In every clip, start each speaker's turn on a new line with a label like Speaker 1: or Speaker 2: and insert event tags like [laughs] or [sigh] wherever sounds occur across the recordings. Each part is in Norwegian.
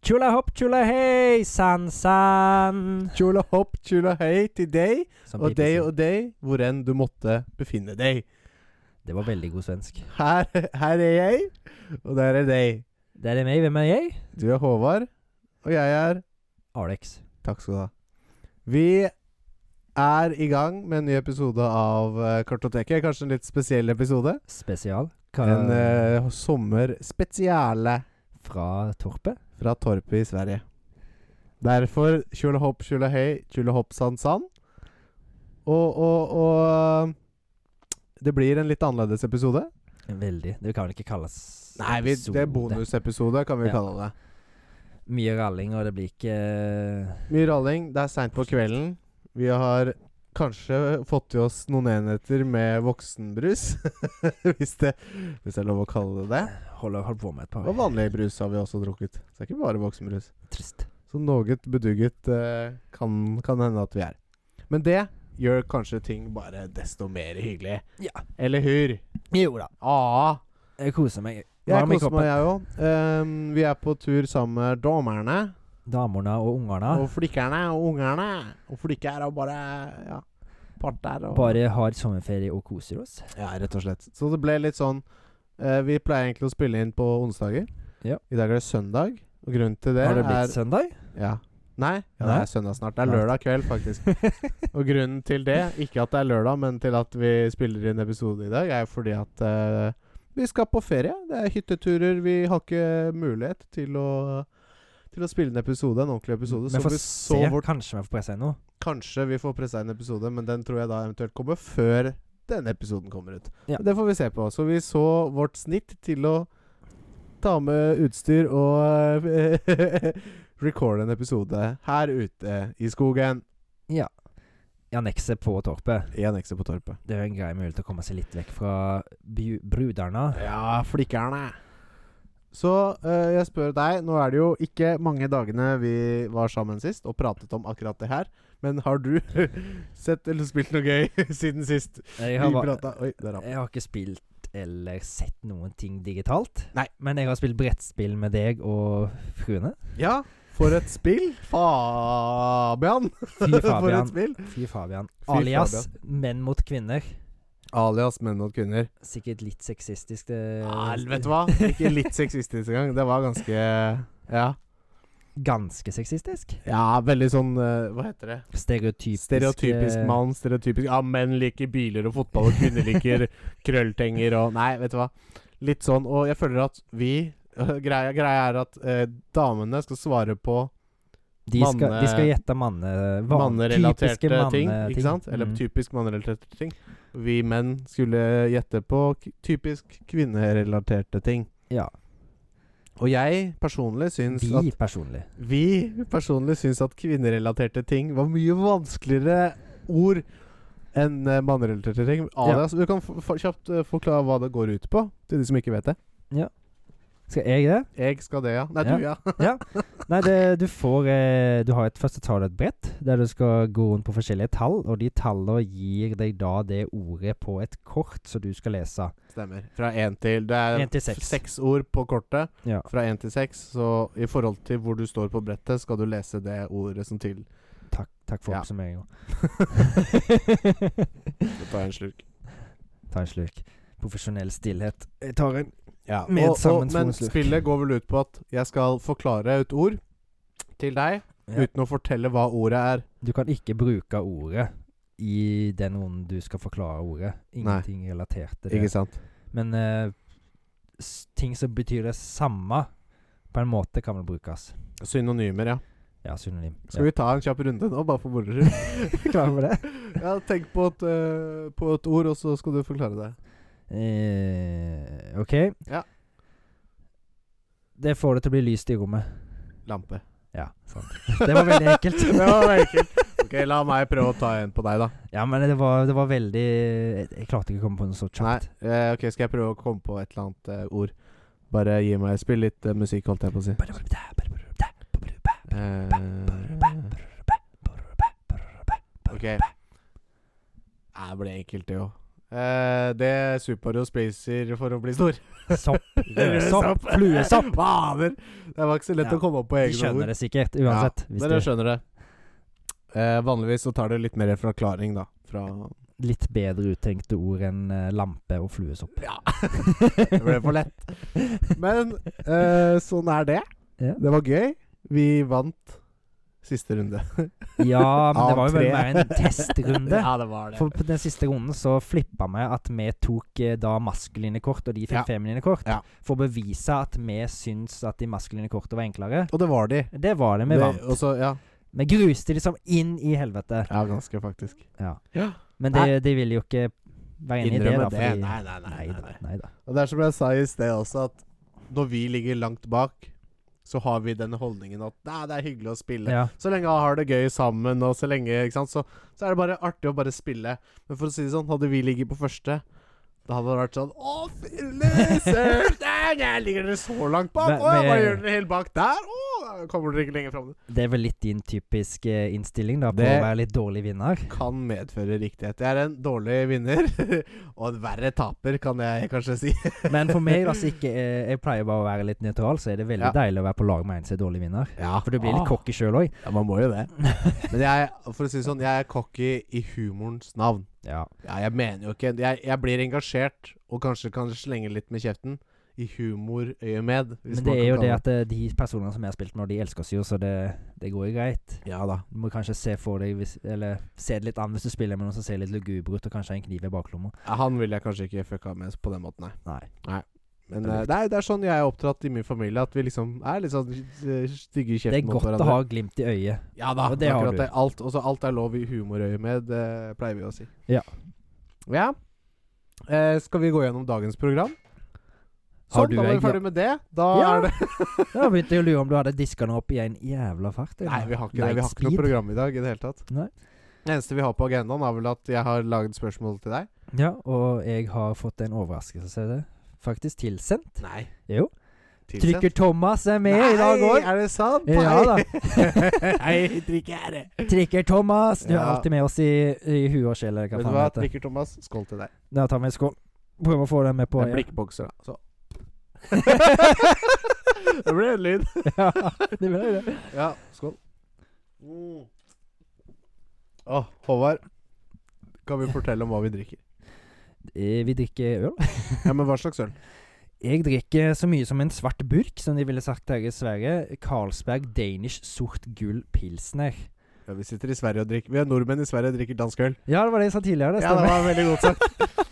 Speaker 1: Tjula hopp, tjula hei, san-san.
Speaker 2: Tjola hopp, tjola hei til deg,
Speaker 1: Som
Speaker 2: og
Speaker 1: Pippi
Speaker 2: deg
Speaker 1: sier.
Speaker 2: og deg, hvor enn du måtte befinne deg.
Speaker 1: Det var veldig god svensk.
Speaker 2: Her, her er jeg, og der er deg.
Speaker 1: Der er meg. Hvem er jeg?
Speaker 2: Du er Håvard, og jeg er
Speaker 1: Alex.
Speaker 2: Takk skal du ha. Vi er i gang med en ny episode av eh, Kartoteket. Kanskje en litt spesiell episode.
Speaker 1: Spesial.
Speaker 2: En
Speaker 1: Ka-
Speaker 2: uh, sommerspesiale
Speaker 1: Fra Torpet.
Speaker 2: fra Torpet i Sverige. Derfor tjola hopp, tjola hei, tjola hopp, san, san. Og, og, og Det blir en litt annerledes episode.
Speaker 1: Veldig. Det kan vel ikke kalles
Speaker 2: Nei, vi, det er
Speaker 1: episode.
Speaker 2: bonusepisode, kan vi
Speaker 1: Ja.
Speaker 2: kalle det.
Speaker 1: Mye ralling, og det blir ikke eh,
Speaker 2: Mye ralling. Det er seint på kvelden. Vi har kanskje fått i oss noen enheter med voksenbrus. [laughs] hvis, det, hvis det er lov å kalle det det.
Speaker 1: Holder hold på med et par.
Speaker 2: Og vanlig brus har vi også drukket. Så det er ikke bare voksenbrus.
Speaker 1: Trist.
Speaker 2: Så noe bedugget eh, kan, kan hende at vi er. Men det gjør kanskje ting bare desto mer hyggelig.
Speaker 1: Ja.
Speaker 2: Eller hur?
Speaker 1: Jo da.
Speaker 2: Ah.
Speaker 1: Jeg koser meg.
Speaker 2: Jeg
Speaker 1: Varm i
Speaker 2: koser meg, jeg òg. vi er på tur sammen med dommerne
Speaker 1: Damene og ungene
Speaker 2: og flikkerne og ungerne. Og flikker og bare ja, parter og
Speaker 1: bare har sommerferie og koser oss.
Speaker 2: Ja, rett og slett. Så det ble litt sånn eh, Vi pleier egentlig å spille inn på onsdager.
Speaker 1: Ja.
Speaker 2: I dag er det søndag, og grunnen til det,
Speaker 1: har det blitt
Speaker 2: er
Speaker 1: søndag?
Speaker 2: Ja. Nei, ja, det
Speaker 1: Nei?
Speaker 2: er søndag snart. Det er
Speaker 1: Nei.
Speaker 2: lørdag kveld, faktisk.
Speaker 1: [laughs]
Speaker 2: og grunnen til det, ikke at det er lørdag, men til at vi spiller inn episode i dag, er jo fordi at eh, vi skal på ferie. Det er hytteturer. Vi har ikke mulighet til å til å spille en episode, en ordentlig episode.
Speaker 1: Vi
Speaker 2: Så
Speaker 1: får
Speaker 2: vi så
Speaker 1: Mm, se.
Speaker 2: vårt,
Speaker 1: Kanskje vi får pressa inn noe.
Speaker 2: kanskje vi får pressa en episode, men den tror jeg da eventuelt kommer før denne episoden kommer ut.
Speaker 1: Ja.
Speaker 2: Men Det får vi se på. Så vi så vårt snitt til å ta med utstyr og eh, [laughs] recorde en episode her ute i skogen.
Speaker 1: I annekset på Torpet.
Speaker 2: I annekset på Torpet.
Speaker 1: Det er jo en grei mulighet å komme seg litt vekk fra bju- bruderne.
Speaker 2: Ja, flikkerne. Så eh, jeg spør deg, nå er det jo ikke mange dagene vi var sammen sist og pratet om akkurat det her, men har du [laughs] sett eller spilt noe gøy [laughs] siden sist?
Speaker 1: Jeg
Speaker 2: Vi
Speaker 1: har, ba-
Speaker 2: prata Oi, der rapp.
Speaker 1: jeg har ikke spilt eller sett noen ting digitalt.
Speaker 2: Nei.
Speaker 1: Men jeg har spilt brettspill med deg og
Speaker 2: [laughs]
Speaker 1: fruene.
Speaker 2: Ja, for et spill! Fabian! [laughs]
Speaker 1: Fy
Speaker 2: for et
Speaker 1: Fabian.
Speaker 2: spill!
Speaker 1: Fy Fabian.
Speaker 2: Fy
Speaker 1: Alias menn mot kvinner.
Speaker 2: Alias menn mot kvinner.
Speaker 1: Sikkert litt sexistisk. eh, Det,
Speaker 2: Ja, vet
Speaker 1: [laughs]
Speaker 2: du hva? Ikke litt sexistisk engang. Det var ganske Ja,
Speaker 1: Ganske sexistisk.
Speaker 2: ja veldig sånn eh, Hva heter det?
Speaker 1: Stereotypisk.
Speaker 2: Stereotypisk mann. Stereotypisk Ja, menn liker biler og fotball, og kvinner [laughs] liker krølltenger og Nei, vet du hva. Litt sånn. Og jeg føler at vi [laughs] Greia, greia er at eh, damene skal svare på
Speaker 1: De skal, de skal
Speaker 2: manne-
Speaker 1: gjette manne... van-
Speaker 2: mannerelaterte
Speaker 1: typiske
Speaker 2: ting.
Speaker 1: manneting.
Speaker 2: Ikke sant? Eller
Speaker 1: Mm.
Speaker 2: typisk mannerelaterte ting. Vi menn skulle gjette på k typisk kvinnerelaterte ting.
Speaker 1: Ja.
Speaker 2: Og jeg personlig syns at
Speaker 1: Vi personlig.
Speaker 2: Vi personlig syns at kvinnerelaterte ting var mye vanskeligere ord enn eh, mannerelaterte ting. Alias, Du kan f f kjapt eh, forklare hva det går ut på, til de som ikke vet det.
Speaker 1: Skal jeg det?
Speaker 2: Jeg skal det, ja. Nei, du, ja.
Speaker 1: Nei, det, du får eh, Du har et første tall og et brett, der du skal gå rundt på forskjellige tall, og de tallene gir deg da det ordet på et kort som du skal lese.
Speaker 2: Stemmer. Fra én til Det er
Speaker 1: Én til seks.
Speaker 2: f- seks ord på kortet.
Speaker 1: Ja.
Speaker 2: Fra én til seks. Så i forhold til hvor du står på brettet, skal du lese det ordet som til.
Speaker 1: Takk, takk for [laughs]
Speaker 2: Ja.
Speaker 1: oppsummeringen.
Speaker 2: Så tar jeg en slurk.
Speaker 1: Ta en slurk. Profesjonell stillhet. Jeg tar en
Speaker 2: Ja.
Speaker 1: Med
Speaker 2: Og, og, men
Speaker 1: sammensvoren slurk.
Speaker 2: spillet går vel ut på at jeg skal forklare et ord til deg
Speaker 1: Ja.
Speaker 2: uten å fortelle hva ordet er.
Speaker 1: Du kan ikke bruke ordet i den runden du skal forklare ordet. Ingenting relatert til det.
Speaker 2: Ikke sant?
Speaker 1: Men eh, s- ting som betyr det samme, på en måte kan vel brukes.
Speaker 2: Synonymer, ja.
Speaker 1: Ja, synonym.
Speaker 2: Skal vi ta en kjapp runde nå, bare for moro skyld?
Speaker 1: [laughs] vi klare for det?
Speaker 2: [laughs] ja, tenk på et, eh, på et ord, og så skal du forklare det.
Speaker 1: Eh, OK.
Speaker 2: Ja.
Speaker 1: Det får det til å bli lyst i rommet.
Speaker 2: Lampe.
Speaker 1: Ja, sant. Det var veldig enkelt.
Speaker 2: [laughs] det var veldig enkelt. Ok, la meg prøve å ta en på deg, da.
Speaker 1: Ja, men det var, det var veldig Jeg jeg klarte ikke å komme på noe så
Speaker 2: Nei,
Speaker 1: kjapt.
Speaker 2: eh, ok, skal jeg prøve å komme på et eller annet eh, ord? Bare gi meg Spill litt eh, musikk, holdt jeg på å si. Eh, ok. Nei, Det ble enkelt, det òg. Eh, det Superhero spiser for å bli stor. [laughs]
Speaker 1: Sopp, rødsopp, [laughs] fluesopp.
Speaker 2: Fader! [laughs] Det var ikke så lett
Speaker 1: Ja,
Speaker 2: å komme opp på
Speaker 1: De
Speaker 2: egne ord.
Speaker 1: skjønner det sikkert, uansett.
Speaker 2: Ja,
Speaker 1: Hvis
Speaker 2: dere
Speaker 1: det
Speaker 2: skjønner det. Eh, vanligvis så tar det litt mer forklaring, da. Fra
Speaker 1: er litt bedre uttenkte ord enn eh, lampe og fluesopp.
Speaker 2: Ja. [laughs] det ble for lett. Men eh, sånn er det.
Speaker 1: Ja.
Speaker 2: Det var gøy. Vi vant siste runde.
Speaker 1: Ja, men det var jo
Speaker 2: A3.
Speaker 1: vel mer en
Speaker 2: [laughs]
Speaker 1: testrunde.
Speaker 2: ja, det var det.
Speaker 1: For på den siste runden så flippa vi at vi tok eh, da maskuline kort, og de fikk
Speaker 2: Ja.
Speaker 1: feminine kort.
Speaker 2: Ja.
Speaker 1: For å bevise at vi syns at de maskuline kortene var enklere.
Speaker 2: Og det var de.
Speaker 1: Det var det vi
Speaker 2: Det-
Speaker 1: vant.
Speaker 2: og så- ja.
Speaker 1: Vi gruste de som inn i helvete.
Speaker 2: ja, ganske faktisk.
Speaker 1: Ja.
Speaker 2: Ja.
Speaker 1: Men de, de vil jo ikke være enig i det, da.
Speaker 2: Innrømme det.
Speaker 1: Fordi,
Speaker 2: Nei, nei, nei,
Speaker 1: nei,
Speaker 2: nei,
Speaker 1: da,
Speaker 2: nei.
Speaker 1: nei da.
Speaker 2: Og det er som jeg sa i sted også, at når vi ligger langt bak, så har vi den holdningen at nei, det er hyggelig å spille.
Speaker 1: Ja.
Speaker 2: Så lenge han har det gøy sammen, og så lenge ikke sant? Så, så er det bare artig å bare spille. Men for å si det sånn, hadde vi ligget på første da hadde det vært sånn Å, fille søren! [laughs] nei, Jeg ligger dere så langt bak!
Speaker 1: Men-
Speaker 2: Å, ja, hva
Speaker 1: men-
Speaker 2: gjør dere helt bak der? Å, kommer dere ikke lenger fram?
Speaker 1: Det er vel litt din typiske eh, innstilling, da, på
Speaker 2: Det-
Speaker 1: å være litt dårlig vinner.
Speaker 2: Kan medføre riktighet. Jeg er en dårlig vinner, [laughs] og en verre taper, kan jeg kanskje si. [laughs]
Speaker 1: Men for meg, da, som ikke er, Jeg pleier bare å være litt nøytral, så er det veldig
Speaker 2: Ja. Ah.
Speaker 1: deilig å være på lag med en som er dårlig vinner.
Speaker 2: Ja,
Speaker 1: For du blir litt cocky sjøl òg.
Speaker 2: Ja, man må jo det. [laughs] Men jeg, for å si det sånn, jeg er cocky i humorens navn.
Speaker 1: Ja.
Speaker 2: Ja, jeg mener jo ikke Jeg, jeg blir engasjert, og kanskje kan slenge litt med kjeften. I humorøyemed.
Speaker 1: Men det er jo det at eh, de personene som jeg har spilt med, de elsker oss jo, så det, det går jo greit.
Speaker 2: Ja da.
Speaker 1: Du må kanskje se for deg hvis, Eller se det litt an hvis du spiller med noen som ser litt lugubre ut, og kanskje har en kniv i baklomma.
Speaker 2: Ja, Han vil jeg kanskje ikke fucka med på den måten, nei.
Speaker 1: Nei.
Speaker 2: Men
Speaker 1: Det er
Speaker 2: eh, nei, det er sånn jeg er oppdratt i min familie, at vi liksom er litt sånn eh, stygge i
Speaker 1: Det
Speaker 2: kjeften
Speaker 1: er godt å ha glimt i øyet.
Speaker 2: Ja da,
Speaker 1: og
Speaker 2: det
Speaker 1: det har
Speaker 2: akkurat
Speaker 1: du.
Speaker 2: det. Alt, også alt er lov i humorøyemed, eh, pleier vi å si.
Speaker 1: Ja.
Speaker 2: Ja. Eh, skal vi gå gjennom dagens program?
Speaker 1: Har
Speaker 2: Sånn,
Speaker 1: du
Speaker 2: da var
Speaker 1: en-
Speaker 2: vi ferdig med det. Da
Speaker 1: Ja.
Speaker 2: er det [laughs]
Speaker 1: Jeg begynte jeg å lure om du hadde diska den opp i en jævla fart. eller?
Speaker 2: Nei, vi har ikke det. Vi har
Speaker 1: Light
Speaker 2: ikke noe
Speaker 1: speed.
Speaker 2: program i dag i det hele tatt.
Speaker 1: Nei.
Speaker 2: Det eneste vi har på agendaen, er vel at jeg har laget spørsmål til deg.
Speaker 1: Ja, og jeg har fått en overraskelse, ser du. Faktisk tilsendt.
Speaker 2: Nei.
Speaker 1: Jo.
Speaker 2: Tilsendt.
Speaker 1: Trykker Thomas er med i dag òg.
Speaker 2: er det sant?
Speaker 1: Ja da.
Speaker 2: [laughs] Nei, trykk er det.
Speaker 1: Trykker Thomas. Du er
Speaker 2: Ja.
Speaker 1: alltid med oss i, i huet og sjela.
Speaker 2: Vet du hva, Trikker Thomas, skål til deg.
Speaker 1: Da tar vi en skål. Prøver å få den med på.
Speaker 2: Det er
Speaker 1: ja.
Speaker 2: blikkbokser, da. Så. det ble en lyd.
Speaker 1: ja,
Speaker 2: [laughs]
Speaker 1: det ble det.
Speaker 2: Ja, skål. Å, Håvard. Kan vi fortelle om hva vi drikker?
Speaker 1: Eh, Vi drikker øl.
Speaker 2: Ja, men hva slags øl?
Speaker 1: Jeg drikker så mye som en svart burk, som de ville sagt her i Sverige. Carlsberg Danish Sort Gull Pilsner.
Speaker 2: Ja, vi sitter i Sverige og drikker Vi er nordmenn i Sverige og drikker dansk øl.
Speaker 1: Ja, det var det jeg sa tidligere. Det
Speaker 2: Ja, det
Speaker 1: stemmer.
Speaker 2: var veldig godt sagt.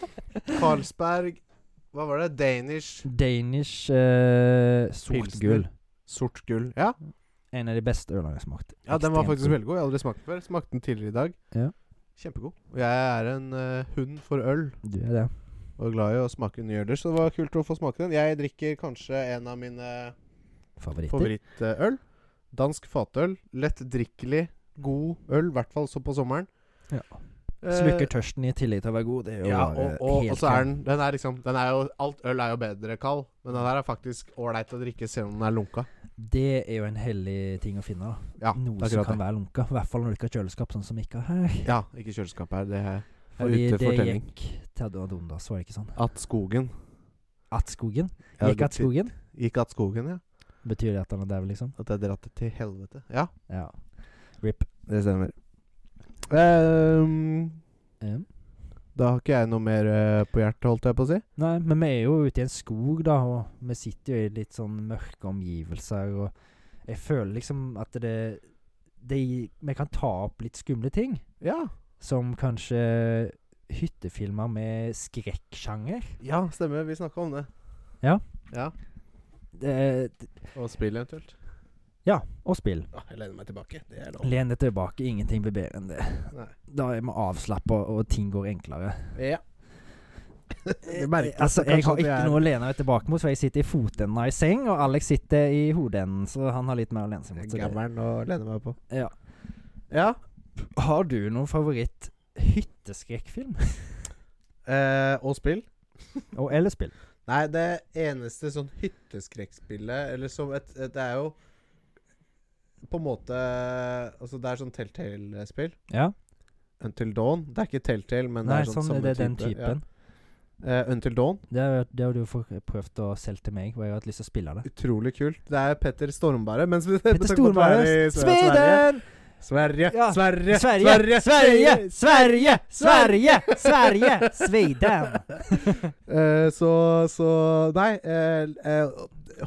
Speaker 2: [laughs] Carlsberg Hva var det? Danish
Speaker 1: Danish eh, Sort
Speaker 2: Pilsner.
Speaker 1: Gull.
Speaker 2: sort gull. Ja,
Speaker 1: En av de beste ølene jeg har smakt.
Speaker 2: ja den var
Speaker 1: Ekstremt
Speaker 2: faktisk
Speaker 1: god.
Speaker 2: veldig god. Jeg har aldri smakt den før. Smakte den tidligere i dag.
Speaker 1: Ja.
Speaker 2: Kjempegod. Og jeg er en eh, hund for øl
Speaker 1: Du er det.
Speaker 2: og er glad i å smake nye øler, så det var kult å få smake den. Jeg drikker kanskje en av mine
Speaker 1: Favoritter.
Speaker 2: favorittøl. Dansk fatøl. Lettdrikkelig, god øl, i hvert fall så på sommeren.
Speaker 1: Ja.
Speaker 2: Eh,
Speaker 1: Slukker tørsten i tillegg til å være god. Det er jo
Speaker 2: Ja,
Speaker 1: bare
Speaker 2: og, og,
Speaker 1: helt
Speaker 2: og så er
Speaker 1: klart.
Speaker 2: den Den er liksom den er jo, Alt øl er jo bedre kald, men den her er faktisk ålreit å drikke selv om den er lunka.
Speaker 1: Det er jo en hellig ting å finne. da
Speaker 2: Ja, det
Speaker 1: Noe
Speaker 2: er
Speaker 1: som
Speaker 2: akkurat
Speaker 1: kan
Speaker 2: det.
Speaker 1: være lunka. I hvert fall når du ikke har kjøleskap, sånn som ikke har her.
Speaker 2: Ja, ikke kjøleskap her. Det er
Speaker 1: Fordi
Speaker 2: ute
Speaker 1: det
Speaker 2: fortelling.
Speaker 1: gikk til Adon Dundas, var det ikke sånn?
Speaker 2: At skogen.
Speaker 1: At skogen?
Speaker 2: Ja,
Speaker 1: Gikk
Speaker 2: det
Speaker 1: at skogen?
Speaker 2: Gikk at skogen, ja.
Speaker 1: Betyr det at han er dau, liksom?
Speaker 2: At jeg dratt det til helvete. Ja,
Speaker 1: Ja. Rip.
Speaker 2: det stemmer. Ehm,
Speaker 1: Um.
Speaker 2: da har ikke jeg noe mer eh, på hjertet, holdt jeg på å si.
Speaker 1: Nei, men vi er jo ute i en skog, da, og vi sitter jo i litt sånn mørke omgivelser, og jeg føler liksom at det, det Vi kan ta opp litt skumle ting,
Speaker 2: Ja,
Speaker 1: som kanskje hyttefilmer med skrekksjanger.
Speaker 2: ja stemmer. Vi snakka om det.
Speaker 1: Ja.
Speaker 2: ja.
Speaker 1: Det-
Speaker 2: Og spill eventuelt.
Speaker 1: Ja, og spill.
Speaker 2: Ja, Ah, jeg lener meg tilbake. Det er lov.
Speaker 1: Len deg tilbake, ingenting blir bedre enn det.
Speaker 2: Nei.
Speaker 1: Da er vi avslappa, og ting går enklere.
Speaker 2: Ja. [laughs] Det merkes
Speaker 1: altså,
Speaker 2: Eh,
Speaker 1: jeg
Speaker 2: kanskje at
Speaker 1: har
Speaker 2: vi
Speaker 1: ikke
Speaker 2: er-
Speaker 1: noe å lene meg tilbake mot, for jeg sitter i fotenden av ei seng, og Alex sitter i hodeenden, så han har litt mer å lene seg mot. så det-
Speaker 2: Gammelen å lene meg på.
Speaker 1: Ja.
Speaker 2: Ja.
Speaker 1: Har du noen favoritt
Speaker 2: [laughs]
Speaker 1: hytteskrekkfilm?
Speaker 2: eh, og spill?
Speaker 1: og, eller spill?
Speaker 2: Nei, det eneste sånn hytteskrekkspillet Eller som et, et Det er jo på en måte Altså, det er sånn Telltale-spill.
Speaker 1: Ja.
Speaker 2: Until Dawn. Det er ikke Telltale, men
Speaker 1: Nei,
Speaker 2: det er sånn,
Speaker 1: sånn,
Speaker 2: samme
Speaker 1: det er den
Speaker 2: type. ja.
Speaker 1: typen.
Speaker 2: Eh, Until Dawn,
Speaker 1: Det har det har du for- prøvd å selge til meg, og jeg har hatt lyst til å spille
Speaker 2: [laughs]
Speaker 1: det.
Speaker 2: utrolig kult. Det er Petter Stormbare. Mens vi [laughs]
Speaker 1: Petter Stormare,
Speaker 2: Sverige!
Speaker 1: Sweden!
Speaker 2: Sverige!
Speaker 1: Ja.
Speaker 2: Sverige!
Speaker 1: Sverige! Sverige! Sverige! Sverige!
Speaker 2: [laughs]
Speaker 1: Sverige! Sweden!
Speaker 2: Eh, så, så Nei. eh, eh,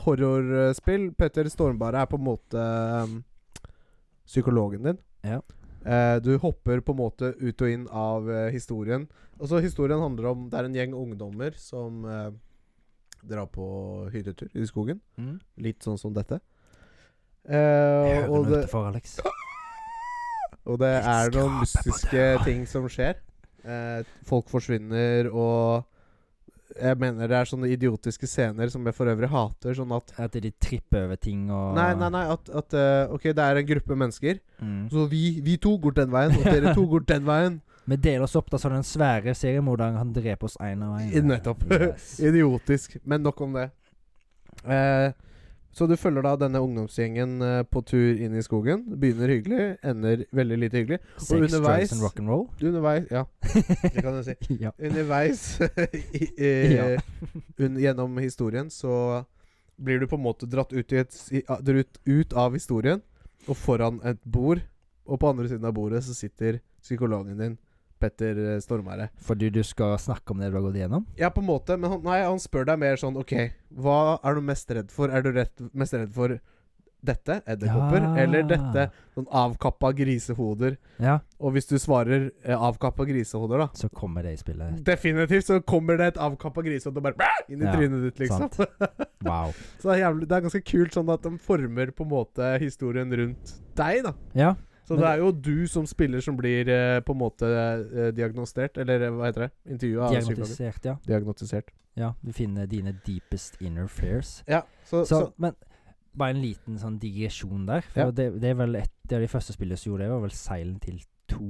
Speaker 2: horrorspill. Petter Stormbare er på en måte eh, psykologen din.
Speaker 1: Ja.
Speaker 2: Eh, du hopper på en måte ut og inn av eh, historien. Og så Historien handler om det er en gjeng ungdommer som eh, drar på hyttetur i skogen.
Speaker 1: Mm.
Speaker 2: Litt sånn som dette. Eh,
Speaker 1: Hører
Speaker 2: og,
Speaker 1: du
Speaker 2: det,
Speaker 1: utenfor, Alex?
Speaker 2: og det er noen
Speaker 1: Skrape på
Speaker 2: mystiske
Speaker 1: døra.
Speaker 2: ting som skjer. Eh, folk forsvinner, og jeg mener det er sånne idiotiske scener som jeg for øvrig hater. Sånn at
Speaker 1: At de tripper over ting og
Speaker 2: Nei, nei, nei. At, at eh, OK, det er en gruppe mennesker.
Speaker 1: Mm.
Speaker 2: Så vi, vi to går den veien, og dere to går den veien.
Speaker 1: [laughs] Vi deler oss opp da, så den svære seriemorderen kan drepe oss én og
Speaker 2: I-
Speaker 1: én.
Speaker 2: nettopp.
Speaker 1: [laughs]
Speaker 2: [laughs]
Speaker 1: Yes.
Speaker 2: Idiotisk. Men nok om det. Eh, så du følger da denne ungdomsgjengen eh, på tur inn i skogen. Begynner hyggelig, ender veldig lite hyggelig.
Speaker 1: Sex,
Speaker 2: Og underveis-
Speaker 1: drugs and
Speaker 2: [laughs]
Speaker 1: rock'n'roll.
Speaker 2: Underveis
Speaker 1: [laughs]
Speaker 2: Ja, det kan jeg si.
Speaker 1: ja.
Speaker 2: Underveis [laughs] i, i,
Speaker 1: Ja.
Speaker 2: [laughs] un, gjennom historien så blir du på en måte dratt ut, i et, s- i, a- dratt ut av historien og foran et bord. Og på andre siden av bordet så sitter psykologen din, Petter eh, Stormare.
Speaker 1: Fordi du skal snakke om det du har gått igjennom?
Speaker 2: Ja, på en måte, men han, nei, han spør deg mer sånn OK, hva er du mest redd for? Er du rett, mest redd for dette, edderkopper,
Speaker 1: Ja.
Speaker 2: eller dette, sånn avkappa grisehoder?
Speaker 1: Ja,
Speaker 2: Og hvis du svarer eh, avkappa grisehoder, da,
Speaker 1: så kommer det i spillet.
Speaker 2: Definitivt så kommer det et avkappa grisehode og bare bæ, inn i
Speaker 1: Ja,
Speaker 2: trynet ditt, liksom. [laughs]
Speaker 1: Wow.
Speaker 2: så det er, jævlig, det er ganske kult sånn at de former på en måte historien rundt deg, da.
Speaker 1: Ja,
Speaker 2: Så
Speaker 1: Men
Speaker 2: det er jo du som spiller som blir eh, på en måte eh, diagnostert, eller eh, hva heter det? Intervjua av psykologen.
Speaker 1: diagnostisert, ja.
Speaker 2: Diagnostisert.
Speaker 1: Ja, Du finner dine deepest inner fears.
Speaker 2: Ja, så, så,
Speaker 1: Så, men bare en liten sånn digresjon der. For
Speaker 2: Ja.
Speaker 1: det, det er vel et det er de første spillene som gjorde det, var vel Silent Hill 2?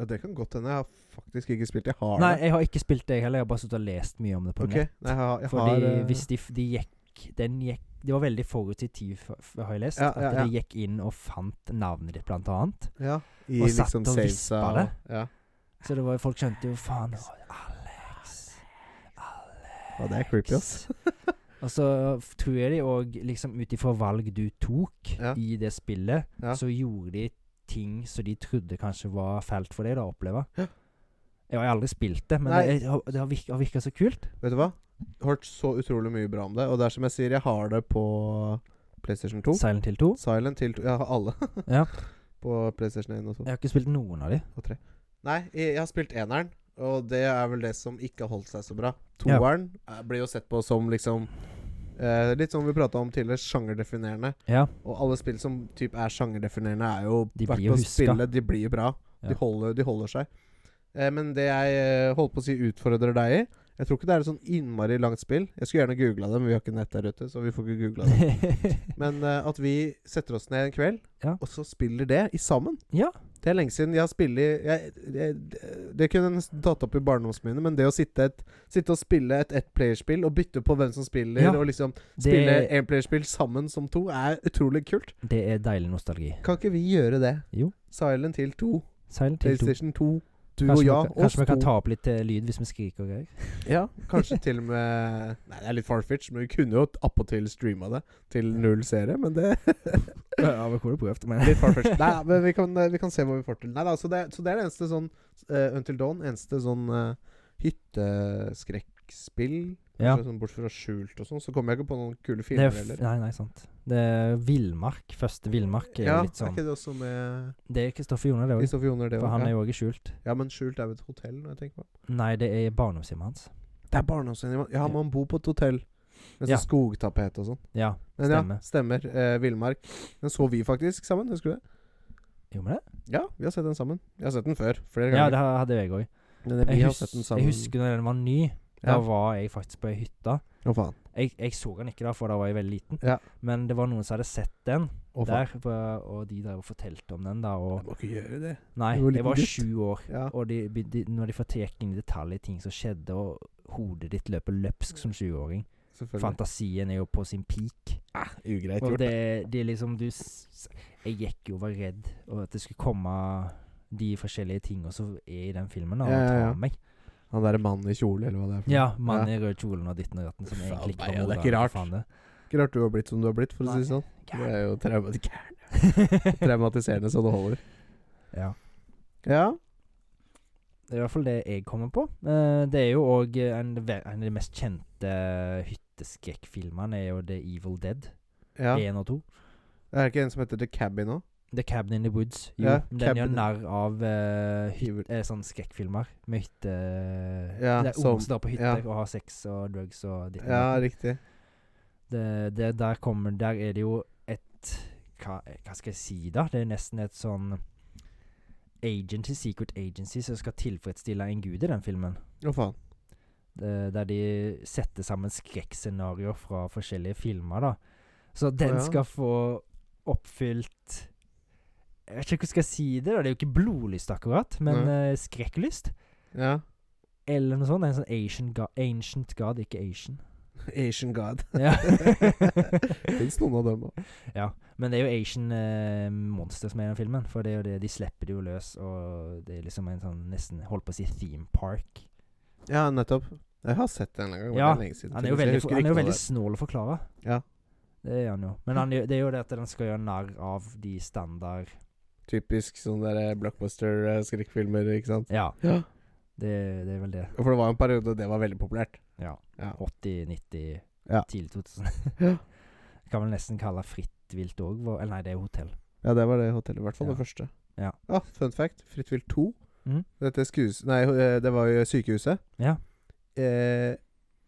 Speaker 2: ja, Det kan godt hende. Jeg har faktisk ikke spilt. Jeg har
Speaker 1: Nei,
Speaker 2: det.
Speaker 1: jeg har ikke spilt det, jeg heller. Jeg har bare sittet og lest mye om det på
Speaker 2: Ok,
Speaker 1: nett.
Speaker 2: nei, jeg har, jeg
Speaker 1: Fordi
Speaker 2: har eh,
Speaker 1: hvis de, f- de gikk Den gikk Det var veldig forutsigtiv, f- f- har jeg lest.
Speaker 2: Ja, ja,
Speaker 1: At
Speaker 2: ja.
Speaker 1: de gikk inn og fant navnet ditt, blant annet.
Speaker 2: ja, i,
Speaker 1: og satt og
Speaker 2: savesa
Speaker 1: vispa
Speaker 2: og-
Speaker 1: det.
Speaker 2: Ja.
Speaker 1: Så det var, folk skjønte jo faen å, Alex. Alex.
Speaker 2: Ja, det er creepy, ass.
Speaker 1: [laughs] Og så f- tror jeg de òg, liksom ut ifra valg du tok
Speaker 2: Ja.
Speaker 1: i det spillet,
Speaker 2: Ja.
Speaker 1: så gjorde de ting som de trodde kanskje var fælt for deg da, å oppleve.
Speaker 2: Ja.
Speaker 1: Jeg har aldri spilt det, men
Speaker 2: Nei.
Speaker 1: det, er- det har virka, har virka så kult.
Speaker 2: Vet du hva? Hørt så utrolig mye bra om det. Og det er som jeg sier, jeg har det på PlayStation 2.
Speaker 1: Silent Hill 2.
Speaker 2: Silent Hill 2. Jeg har alle [laughs]
Speaker 1: Ja.
Speaker 2: på PlayStation 1 og sånn. 2
Speaker 1: Jeg har ikke spilt noen av de.
Speaker 2: og 3. Nei, jeg jeg har spilt eneren, og det er vel det som ikke har holdt seg så bra.
Speaker 1: Ja.
Speaker 2: Toeren eh, blir jo sett på som liksom eh, Litt som vi prata om tidligere, sjangerdefinerende.
Speaker 1: Ja.
Speaker 2: Og alle spill som typ er sjangerdefinerende, er jo
Speaker 1: De
Speaker 2: verdt
Speaker 1: blir jo
Speaker 2: å
Speaker 1: huska.
Speaker 2: spille. De blir jo bra.
Speaker 1: Ja.
Speaker 2: De, holder, de holder seg. Eh, men det jeg eh, holdt på å si utfordrer deg i Jeg tror ikke det er et sånn innmari langt spill. Jeg skulle gjerne googla det, men vi har ikke nett der ute, så vi får ikke googla det. Men eh, at vi setter oss ned en kveld,
Speaker 1: Ja.
Speaker 2: og så spiller det i sammen.
Speaker 1: [laughs] Ja.
Speaker 2: Det er lenge siden jeg har spilt i jeg, jeg, Det kunne jeg nesten tatt opp i barndomsminnet, men det å sitte, et, sitte og spille et ettplayerspill og bytte på hvem som spiller,
Speaker 1: Ja.
Speaker 2: og liksom spille
Speaker 1: det,
Speaker 2: enplayerspill sammen som to, er utrolig kult.
Speaker 1: det er deilig nostalgi.
Speaker 2: Kan ikke vi gjøre det?
Speaker 1: Jo.
Speaker 2: Silent Hill 2,
Speaker 1: Silent Hill 2.
Speaker 2: PlayStation 2, du
Speaker 1: Kanskje,
Speaker 2: og
Speaker 1: vi
Speaker 2: jeg,
Speaker 1: kan- kanskje vi kan
Speaker 2: oss
Speaker 1: ta
Speaker 2: to.
Speaker 1: opp litt eh, lyd hvis vi skriker og
Speaker 2: [laughs]
Speaker 1: greier.
Speaker 2: Ja, kanskje til og med Nei, det er litt farfetch, men vi kunne jo appåtil streama det til null seere, men det
Speaker 1: Ja, vi kunne prøvd, men
Speaker 2: Litt farfetch. [laughs] Nei, men vi kan, eh, vi kan se hva vi får til. Nei da, så det, så det er det eneste sånn eh, Until Dawn, eneste sånn eh, hytteskrekkspill
Speaker 1: [laughs] Ja.
Speaker 2: kanskje Sånn, bort fra skjult og sånn, så kommer jeg ikke på noen kule
Speaker 1: Det er
Speaker 2: filmer
Speaker 1: f
Speaker 2: heller.
Speaker 1: nei, nei, sant. Det er villmark. Første villmark er jo
Speaker 2: Ja,
Speaker 1: litt
Speaker 2: er
Speaker 1: sånn
Speaker 2: ikke det også med
Speaker 1: Det er Kristoffer Joner, det òg.
Speaker 2: Kristoffer Joner, det
Speaker 1: For han
Speaker 2: òg?
Speaker 1: er
Speaker 2: Ja.
Speaker 1: jo òg i skjult.
Speaker 2: ja, men skjult er jo et hotell, når jeg tenker på det.
Speaker 1: Nei, det er barndomshjemmet hans.
Speaker 2: Det er barndomshjem. Ja, man bor på et hotell. Med sånn
Speaker 1: Ja.
Speaker 2: skogtapet og sånn.
Speaker 1: Ja.
Speaker 2: Men
Speaker 1: Stemmer.
Speaker 2: ja, stemmer. Eh, Villmark. Den så vi faktisk sammen, husker du det?
Speaker 1: Gjorde vi det?
Speaker 2: Ja, vi har sett den sammen. Jeg har sett den før, flere
Speaker 1: Ja,
Speaker 2: ganger.
Speaker 1: det ha- hadde jeg òg.
Speaker 2: Men vi
Speaker 1: Jeg,
Speaker 2: har
Speaker 1: hus
Speaker 2: sett den
Speaker 1: jeg
Speaker 2: sammen.
Speaker 1: husker da den var ny. Da
Speaker 2: Ja.
Speaker 1: var jeg faktisk på ei hytte.
Speaker 2: Å faen.
Speaker 1: Jeg, jeg så den ikke da, for da var jeg veldig liten.
Speaker 2: Ja.
Speaker 1: Men det var noen som hadde sett den
Speaker 2: Å faen.
Speaker 1: der, på- og de drev og fortalte om den da.
Speaker 2: Jeg
Speaker 1: Og
Speaker 2: må ikke gjøre det.
Speaker 1: nei,
Speaker 2: Du var
Speaker 1: jeg
Speaker 2: liten
Speaker 1: var
Speaker 2: gutt.
Speaker 1: sju år.
Speaker 2: Ja.
Speaker 1: Og de, be- de, når de forteker inn i detalj i ting som skjedde, og hodet ditt løper løpsk som 20-åring
Speaker 2: Selvfølgelig.
Speaker 1: Fantasien er jo på sin peak.
Speaker 2: Ugreit
Speaker 1: Og
Speaker 2: gjort.
Speaker 1: det, det er liksom du s- s- Jeg gikk jo og var redd og at det skulle komme de forskjellige tingene som er i den filmen, da,
Speaker 2: Ja,
Speaker 1: og
Speaker 2: ja,
Speaker 1: tar
Speaker 2: ja.
Speaker 1: med meg.
Speaker 2: Han derre mannen i kjole, eller hva det er. for
Speaker 1: Ja,
Speaker 2: noe.
Speaker 1: mannen i rød kjolen og ditten og datten som
Speaker 2: Faen,
Speaker 1: egentlig ikke
Speaker 2: nei,
Speaker 1: var
Speaker 2: ja, det er
Speaker 1: mora,
Speaker 2: ikke
Speaker 1: hva
Speaker 2: rart.
Speaker 1: faen det-
Speaker 2: Ikke rart du har blitt som du har blitt, for å si det sånn. [laughs] Det er jo trauma traumatiserende så det holder.
Speaker 1: [laughs] ja.
Speaker 2: Ja.
Speaker 1: Det er i hvert fall det jeg kommer på. Eh, det er jo òg en, ve- en av de mest kjente eh, hytteskrekkfilmene er jo The Evil Dead
Speaker 2: ja.
Speaker 1: 1 og 2.
Speaker 2: Det er ikke en som heter The Cabin òg?
Speaker 1: The Cabin in the Woods. Jo,
Speaker 2: Ja,
Speaker 1: men den gjør
Speaker 2: Cabin-
Speaker 1: narr av eh, hyt,
Speaker 2: Evil-
Speaker 1: eh, sånne skrekkfilmer med hytte... eh,
Speaker 2: Ja,
Speaker 1: det er
Speaker 2: som-
Speaker 1: ord som står på
Speaker 2: ja.
Speaker 1: hytter og har sex og drugs og ditt og
Speaker 2: Ja,
Speaker 1: datt.
Speaker 2: riktig.
Speaker 1: det, det, Der kommer Der er det jo et hva, hva skal jeg si, da? Det er nesten et sånn agency, secret agency, som skal tilfredsstille en gud i den filmen.
Speaker 2: Å, faen.
Speaker 1: Eh, der de setter sammen skrekkscenarioer fra forskjellige filmer. da Så den
Speaker 2: ja.
Speaker 1: skal få oppfylt Jeg vet ikke hvordan jeg skal si det. da Det er jo ikke blodlyst, akkurat, men eh, skrekklyst.
Speaker 2: Ja.
Speaker 1: Eller noe sånt. En sånn Asian ga ancient god, ikke Asian.
Speaker 2: Asian God.
Speaker 1: Ja.
Speaker 2: [laughs]
Speaker 1: [laughs]
Speaker 2: Fins noen av dem òg.
Speaker 1: men det er jo Asian eh, monster som er i den filmen. For det er jo det, de slipper det jo løs, og det er liksom en sånn nesten Holdt på å si theme park.
Speaker 2: Ja, nettopp. Jeg har sett den en gang. men
Speaker 1: Ja,
Speaker 2: det er lenge siden.
Speaker 1: Han er jo
Speaker 2: Jeg
Speaker 1: veldig,
Speaker 2: husker
Speaker 1: han
Speaker 2: ikke
Speaker 1: er jo
Speaker 2: noe av
Speaker 1: veldig
Speaker 2: det.
Speaker 1: snål å forklare.
Speaker 2: Ja. Mm.
Speaker 1: Det er han jo. Men han, gjør- det er jo det at den skal gjøre narr av de standard
Speaker 2: Typisk sånn der blockbuster-skrekkfilmer, ikke sant.
Speaker 1: Ja,
Speaker 2: Ja.
Speaker 1: det, det er vel det.
Speaker 2: For det var en periode det var veldig populært.
Speaker 1: Ja.
Speaker 2: Ja.
Speaker 1: 80, 90,
Speaker 2: Ja.
Speaker 1: tidlig 2000. [laughs]
Speaker 2: Ja.
Speaker 1: Kan vel nesten kalle fritt vilt òg. Eller nei, det er hotell.
Speaker 2: Ja, det var det hotellet. I hvert fall
Speaker 1: Ja.
Speaker 2: det første.
Speaker 1: Ja.
Speaker 2: Fun fact. Fritt vilt 2.
Speaker 1: Mhm.
Speaker 2: Dette skues... Nei, eh, det var jo sykehuset.
Speaker 1: Ja.
Speaker 2: Eh,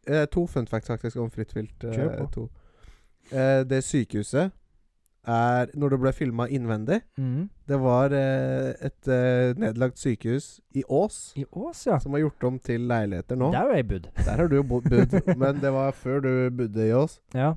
Speaker 2: eh, to fun facts faktisk om Fritt vilt
Speaker 1: Kjør
Speaker 2: eh,
Speaker 1: på.
Speaker 2: 2. Eh, det sykehuset er Når det ble filma innvendig Det var eh, et eh, nedlagt sykehus i Ås.
Speaker 1: I Ås, ja.
Speaker 2: Som var gjort om til leiligheter nå.
Speaker 1: Der har jeg bodd.
Speaker 2: Der har du jo bo- bodd. [laughs]
Speaker 1: [laughs]
Speaker 2: Men det var før du bodde i Ås.
Speaker 1: Ja.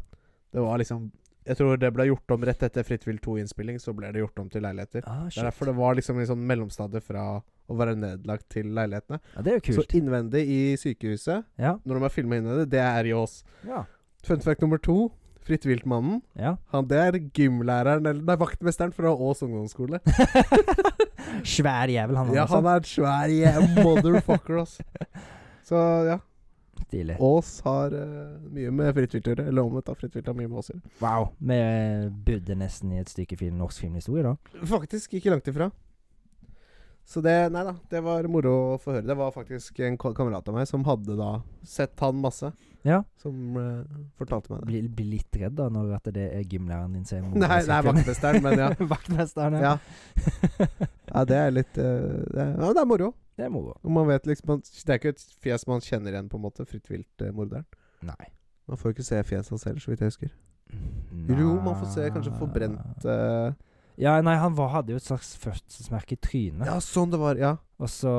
Speaker 2: Det var liksom Jeg tror det ble gjort om rett etter Fritt vilt 2-innspilling. Så ble det gjort om til leiligheter.
Speaker 1: Ah,
Speaker 2: Det er
Speaker 1: shit.
Speaker 2: derfor det var liksom en sånn mellomstadie fra å være nedlagt til leilighetene.
Speaker 1: ja, det er jo kult.
Speaker 2: Så innvendig i sykehuset,
Speaker 1: Ja.
Speaker 2: når de har filma innvendig, det er i Ås.
Speaker 1: Ja.
Speaker 2: Fun fact nummer to. Fritt Vilt-mannen.
Speaker 1: ja.
Speaker 2: Han det er gymlæreren, eller nei, vaktmesteren fra Ås ungdomsskole.
Speaker 1: Svær jævel, han
Speaker 2: ja,
Speaker 1: altså.
Speaker 2: han er en svær yeah, motherfucker,
Speaker 1: [laughs]
Speaker 2: ass. Så ja,
Speaker 1: sånn. Stilig.
Speaker 2: Ås har eh, mye med Fritt Vilt å gjøre. Eller omvendt, da. Fritt Vilt har mye med Ås å gjøre.
Speaker 1: Wow. Vi eh, bodde nesten i et stykke film, norsk filmhistorie, da.
Speaker 2: Faktisk ikke langt ifra. Så det Nei da, det var moro å få høre. Det var faktisk en ka- kamerat av meg som hadde da sett han masse.
Speaker 1: Ja.
Speaker 2: Som eh, fortalte meg det.
Speaker 1: Blir blir litt redd da når at det er gymlæreren din som er mor i
Speaker 2: Nei, det er
Speaker 1: sekken.
Speaker 2: vaktmesteren, men ja.
Speaker 1: Vaktmesteren, [laughs] ja.
Speaker 2: ja. Ja, det er litt eh, det er, Ja, det er moro.
Speaker 1: Det er moro.
Speaker 2: Og man vet liksom man, Det er ikke et fjes man kjenner igjen, på en måte. Fritt vilt-morderen.
Speaker 1: Nei.
Speaker 2: man får jo ikke se fjeset hans heller, så vidt jeg husker. Jo, man får se kanskje forbrent eh,
Speaker 1: Ja, nei, han var, hadde jo et slags fødselsmerke i trynet.
Speaker 2: Ja, sånn det var. Ja.
Speaker 1: Og så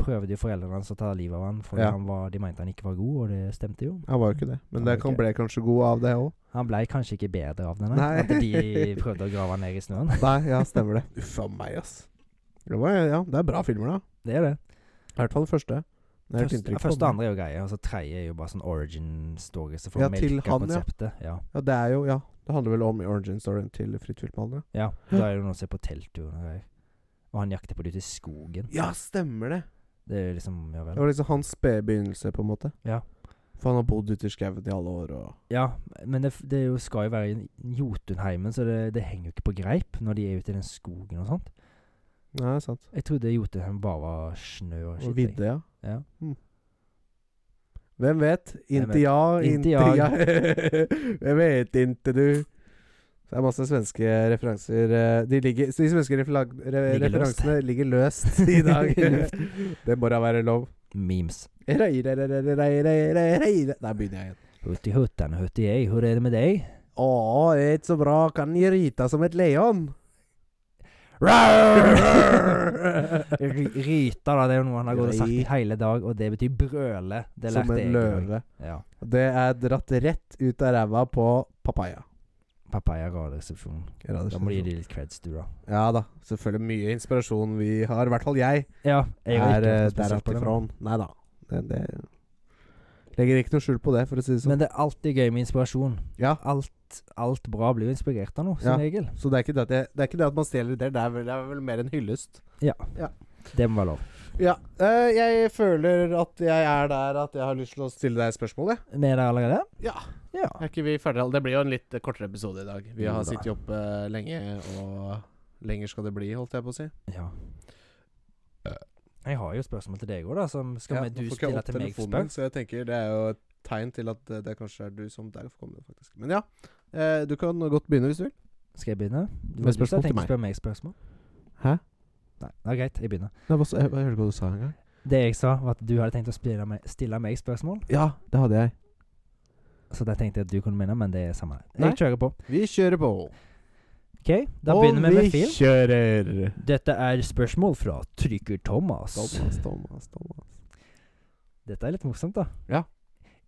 Speaker 1: prøvde jo foreldrene hans å ta livet av han, fordi
Speaker 2: Ja.
Speaker 1: han var, de mente han ikke var god, og det stemte jo.
Speaker 2: Han var jo ikke det. Men
Speaker 1: Han var
Speaker 2: det kan
Speaker 1: ikke-
Speaker 2: ble kanskje god av det òg.
Speaker 1: Han blei kanskje ikke bedre av det, nei.
Speaker 2: Nei.
Speaker 1: At de prøvde å grave han ned i snøen. [laughs]
Speaker 2: Nei, ja, stemmer det. [laughs] Uff a meg, ass. Det var, ja, det er bra filmer, da.
Speaker 1: Det er det.
Speaker 2: I hvert fall den første. Det er et
Speaker 1: Først,
Speaker 2: inntrykk på
Speaker 1: første og
Speaker 2: den.
Speaker 1: andre er jo greie, og så tredje er jo bare sånn origin story som
Speaker 2: Ja,
Speaker 1: får
Speaker 2: til
Speaker 1: melka
Speaker 2: han, ja.
Speaker 1: konseptet. Ja.
Speaker 2: Ja, det er jo Ja. Det handler vel om origin storyen til Fritt vilt-mannen. ja.
Speaker 1: ja. Da er det jo noen som er på telttur og greier. Og han jakter på det ute i skogen.
Speaker 2: Ja, stemmer det.
Speaker 1: Det er jo liksom Ja
Speaker 2: Det
Speaker 1: vel.
Speaker 2: var liksom hans spede begynnelse, på en måte.
Speaker 1: Ja.
Speaker 2: For han har bodd ute i skauen i alle år, og
Speaker 1: Ja, men det, f- det er jo, skal jo være i Jotunheimen, så det, det henger jo ikke på greip når de er ute i den skogen og sånt.
Speaker 2: Nei, sant.
Speaker 1: Jeg trodde Jotunheimen bare var snø og
Speaker 2: Og
Speaker 1: skitt.
Speaker 2: vidde, ja.
Speaker 1: Ja.
Speaker 2: Mm. Hvem vet?
Speaker 1: Hvem
Speaker 2: Inte
Speaker 1: vet?
Speaker 2: ja,
Speaker 1: Inte
Speaker 2: inte
Speaker 1: jag.
Speaker 2: ja. [laughs] Hvem vet inte du. Det er masse svenske referanser eh, De, ligger, de svenske referag, re,
Speaker 1: Ligger løst.
Speaker 2: referansene ligger
Speaker 1: [laughs]
Speaker 2: løst i dag.
Speaker 1: I luften.
Speaker 2: [laughs] det må da være lov.
Speaker 1: jeg. Memes.
Speaker 2: Rei, rei, rei, rei, rei, rei, rei, rei. Der begynner jeg igjen.
Speaker 1: Hutti huttan, hutti ei, hvor er det med deg?
Speaker 2: [laughs] Å, det er ikke så bra. Kan ni rita som et
Speaker 1: [laughs]
Speaker 2: leon?
Speaker 1: Ry- Ryta, da, det er jo noe han har gått og sagt i
Speaker 2: Ry-
Speaker 1: hele dag, og det betyr brøle. Det
Speaker 2: Som
Speaker 1: lærte jeg.
Speaker 2: en
Speaker 1: i dag.
Speaker 2: løve.
Speaker 1: Ja.
Speaker 2: Det er dratt rett ut av ræva på papaya.
Speaker 1: Papaya radioresepsjon. Da må du gi dem litt creds, du, da.
Speaker 2: Ja da, selvfølgelig mye inspirasjon vi har. I hvert fall jeg
Speaker 1: Ja, jeg har ikke
Speaker 2: er eh,
Speaker 1: hørt noe
Speaker 2: der
Speaker 1: spesielt på
Speaker 2: alt
Speaker 1: det,
Speaker 2: ifra. Nei da. Det, det legger ikke noe skjul på det, for å si det
Speaker 1: Men
Speaker 2: sånn.
Speaker 1: det er alltid gøy med inspirasjon.
Speaker 2: ja,
Speaker 1: Alt alt, alt bra blir jo inspirert av noe, som
Speaker 2: Ja.
Speaker 1: regel.
Speaker 2: Så det er, ikke det, at jeg, det er ikke det at man stjeler ideer, det er vel, det er vel mer en hyllest.
Speaker 1: Det må være lov.
Speaker 2: Ja. eh, jeg føler at jeg er der at jeg har lyst til å stille deg et spørsmål, jeg.
Speaker 1: Vi er der allerede?
Speaker 2: Ja.
Speaker 1: Ja.
Speaker 2: Er ikke vi ferdige? all- Det blir jo en litt eh, kortere episode i dag. Vi
Speaker 1: Jo
Speaker 2: har
Speaker 1: da.
Speaker 2: sittet oppe eh, lenge, og lenger skal det bli, holdt jeg på å si.
Speaker 1: ja. Jeg har jo spørsmål til deg òg, da. Som skal
Speaker 2: Ja,
Speaker 1: vi-
Speaker 2: nå
Speaker 1: du
Speaker 2: får ikke jeg
Speaker 1: stille
Speaker 2: opp
Speaker 1: til meg
Speaker 2: telefonen
Speaker 1: spørsmål?
Speaker 2: min, Så jeg tenker det er jo et tegn til at eh, det kanskje er du som der får komme, faktisk. Men ja, eh, du kan godt begynne hvis du vil.
Speaker 1: Skal jeg begynne? Du, du
Speaker 2: Med
Speaker 1: sa
Speaker 2: spørsmål til
Speaker 1: tenkte
Speaker 2: meg.
Speaker 1: å spørre meg spørsmål?
Speaker 2: Hæ?
Speaker 1: Nei, det er greit. Jeg begynner.
Speaker 2: jeg, hørte ikke hva du sa engang.
Speaker 1: Det jeg sa, var at du hadde tenkt å spille meg, stille meg spørsmål.
Speaker 2: Ja, det hadde jeg.
Speaker 1: Så da tenkte jeg at du kunne begynne, men det er samme.
Speaker 2: Nei.
Speaker 1: Jeg kjører på.
Speaker 2: Vi kjører på.
Speaker 1: OK, da begynner vi med film.
Speaker 2: Og vi kjører.
Speaker 1: Dette er spørsmål fra Trykker Thomas.
Speaker 2: Thomas, Thomas, Thomas.
Speaker 1: Dette er litt morsomt, da.
Speaker 2: Ja.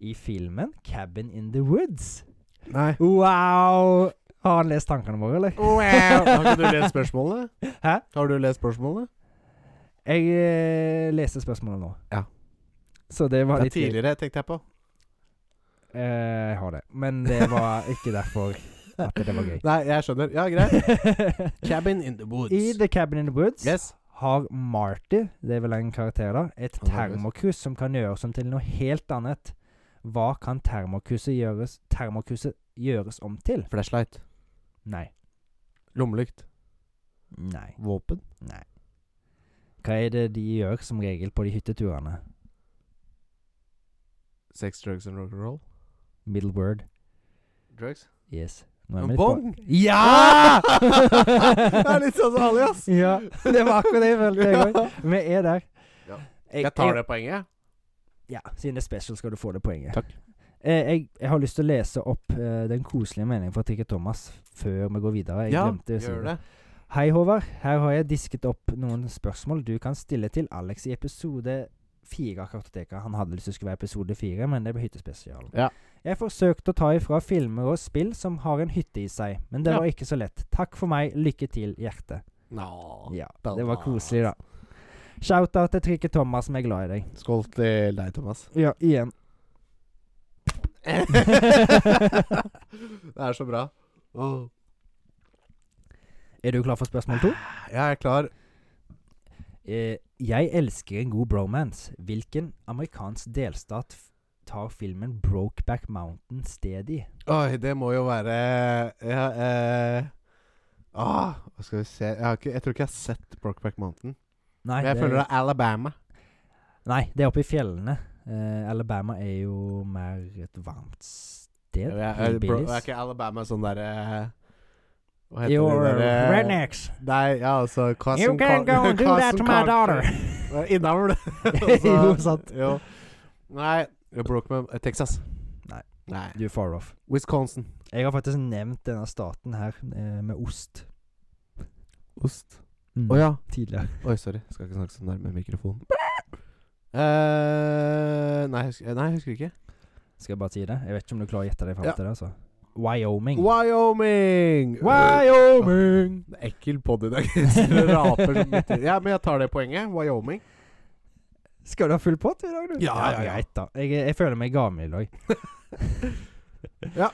Speaker 1: I filmen 'Cabin in the Woods'
Speaker 2: Nei.
Speaker 1: Wow! Har han lest tankene våre, eller?
Speaker 2: [laughs] Har ikke du lest spørsmålene?
Speaker 1: Hæ?
Speaker 2: Har du lest spørsmålene?
Speaker 1: [laughs] Jeg eh, leste spørsmålet nå.
Speaker 2: Ja.
Speaker 1: Så det var
Speaker 2: Det er
Speaker 1: litt
Speaker 2: tidligere, tenkte jeg på.
Speaker 1: Eh, jeg har det. Men det var ikke derfor at det var gøy.
Speaker 2: Nei, jeg skjønner. Ja, [laughs] greit. Cabin in the woods.
Speaker 1: [laughs] I The Cabin in the Woods
Speaker 2: yes.
Speaker 1: har Marty, det er vel en karakter da, et
Speaker 2: Han er det.
Speaker 1: termokus som kan gjøres om til noe helt annet. Hva kan termokuset gjøres, termokuset gjøres om til?
Speaker 2: Flashlight.
Speaker 1: Nei.
Speaker 2: Lommelykt.
Speaker 1: Nei.
Speaker 2: Våpen.
Speaker 1: Nei. Hva er det de gjør som regel på de hytteturene?
Speaker 2: Sex, drugs and rock'n'roll.
Speaker 1: Middle word.
Speaker 2: Drugs.
Speaker 1: Yes. Nå
Speaker 2: En
Speaker 1: vi litt på-
Speaker 2: bong?
Speaker 1: Ja!
Speaker 2: [laughs] det er litt sånn som Ali, ass.
Speaker 1: Ja, [laughs] det var akkurat det jeg følte
Speaker 2: [laughs]
Speaker 1: jeg òg. Vi er der.
Speaker 2: Ja.
Speaker 1: Jeg,
Speaker 2: det poenget.
Speaker 1: Ja, siden det er special, skal du få det poenget.
Speaker 2: Takk.
Speaker 1: Eh, jeg, jeg har lyst til å lese opp eh, den koselige meningen fra Trikke Thomas før vi går videre. Jeg
Speaker 2: ja,
Speaker 1: glemte å si
Speaker 2: gjør
Speaker 1: det.
Speaker 2: det.
Speaker 1: Hei, Håvard. Her har jeg disket opp noen spørsmål du kan stille til Alex i episode fire av Kartoteka. Han hadde lyst til å skulle være episode fire, men det ble hyttespesialen.
Speaker 2: Ja.
Speaker 1: Jeg forsøkte å ta ifra filmer og spill som har en hytte i seg, men det
Speaker 2: Ja.
Speaker 1: var ikke så lett. Takk for meg. Lykke til, hjerte.
Speaker 2: Nå.
Speaker 1: Ja,
Speaker 2: Thomas.
Speaker 1: det var koselig, da. Shout-out til Trikke Thomas, som er glad i deg.
Speaker 2: Skål til deg, Thomas. [laughs]
Speaker 1: Ja, igjen.
Speaker 2: det er så bra. Åh.
Speaker 1: Er du klar for spørsmål to?
Speaker 2: Jeg er klar.
Speaker 1: [gasps] Eh, jeg elsker en god bromance. Hvilken amerikansk delstat f- tar filmen 'Brokeback Mountain' sted i?
Speaker 2: Oi, det må jo være ja, eh. ah, Hva skal vi se jeg, har ikke, jeg tror ikke jeg har sett Brokeback Mountain.
Speaker 1: Nei,
Speaker 2: Men jeg
Speaker 1: det,
Speaker 2: føler det er Alabama.
Speaker 1: nei, det er oppe i fjellene. Eh, Alabama er jo mer et varmt sted.
Speaker 2: Jeg, jeg, bro, er ikke Alabama sånn derre Hva heter
Speaker 1: Your
Speaker 2: det eh, derre
Speaker 1: rednecks.
Speaker 2: Nei, ja, altså Cosm
Speaker 1: You can go
Speaker 2: [laughs]
Speaker 1: and do that to my daughter.
Speaker 2: Innavl.
Speaker 1: [laughs]
Speaker 2: [laughs]
Speaker 1: Jo, sant.
Speaker 2: Altså, Jo. Nei, Brokeman eh, Texas.
Speaker 1: Nei.
Speaker 2: Nei.
Speaker 1: Du er far off.
Speaker 2: Wisconsin.
Speaker 1: Jeg har faktisk nevnt denne staten her eh, med ost.
Speaker 2: Ost.
Speaker 1: Mm,
Speaker 2: Å ja.
Speaker 1: Tidligere.
Speaker 2: Oi, sorry. Skal ikke snakke så nærme mikrofonen. Eh, nei, jeg husker, nei, jeg husker ikke.
Speaker 1: Skal jeg bare si det? Jeg vet ikke om du klarer å gjette deg fram
Speaker 2: Ja.
Speaker 1: til det, altså. Wyoming.
Speaker 2: Wyoming! Eh,
Speaker 1: Wyoming!
Speaker 2: Det er ekkel podd i dag. [laughs] Det raper som bitter. Ja, men jeg tar det poenget. Wyoming.
Speaker 1: Skal du ha full pott i dag, du?
Speaker 2: Ja, ja, ja.
Speaker 1: Greit, da. Jeg, jeg føler meg gammel i dag.
Speaker 2: [laughs] Ja.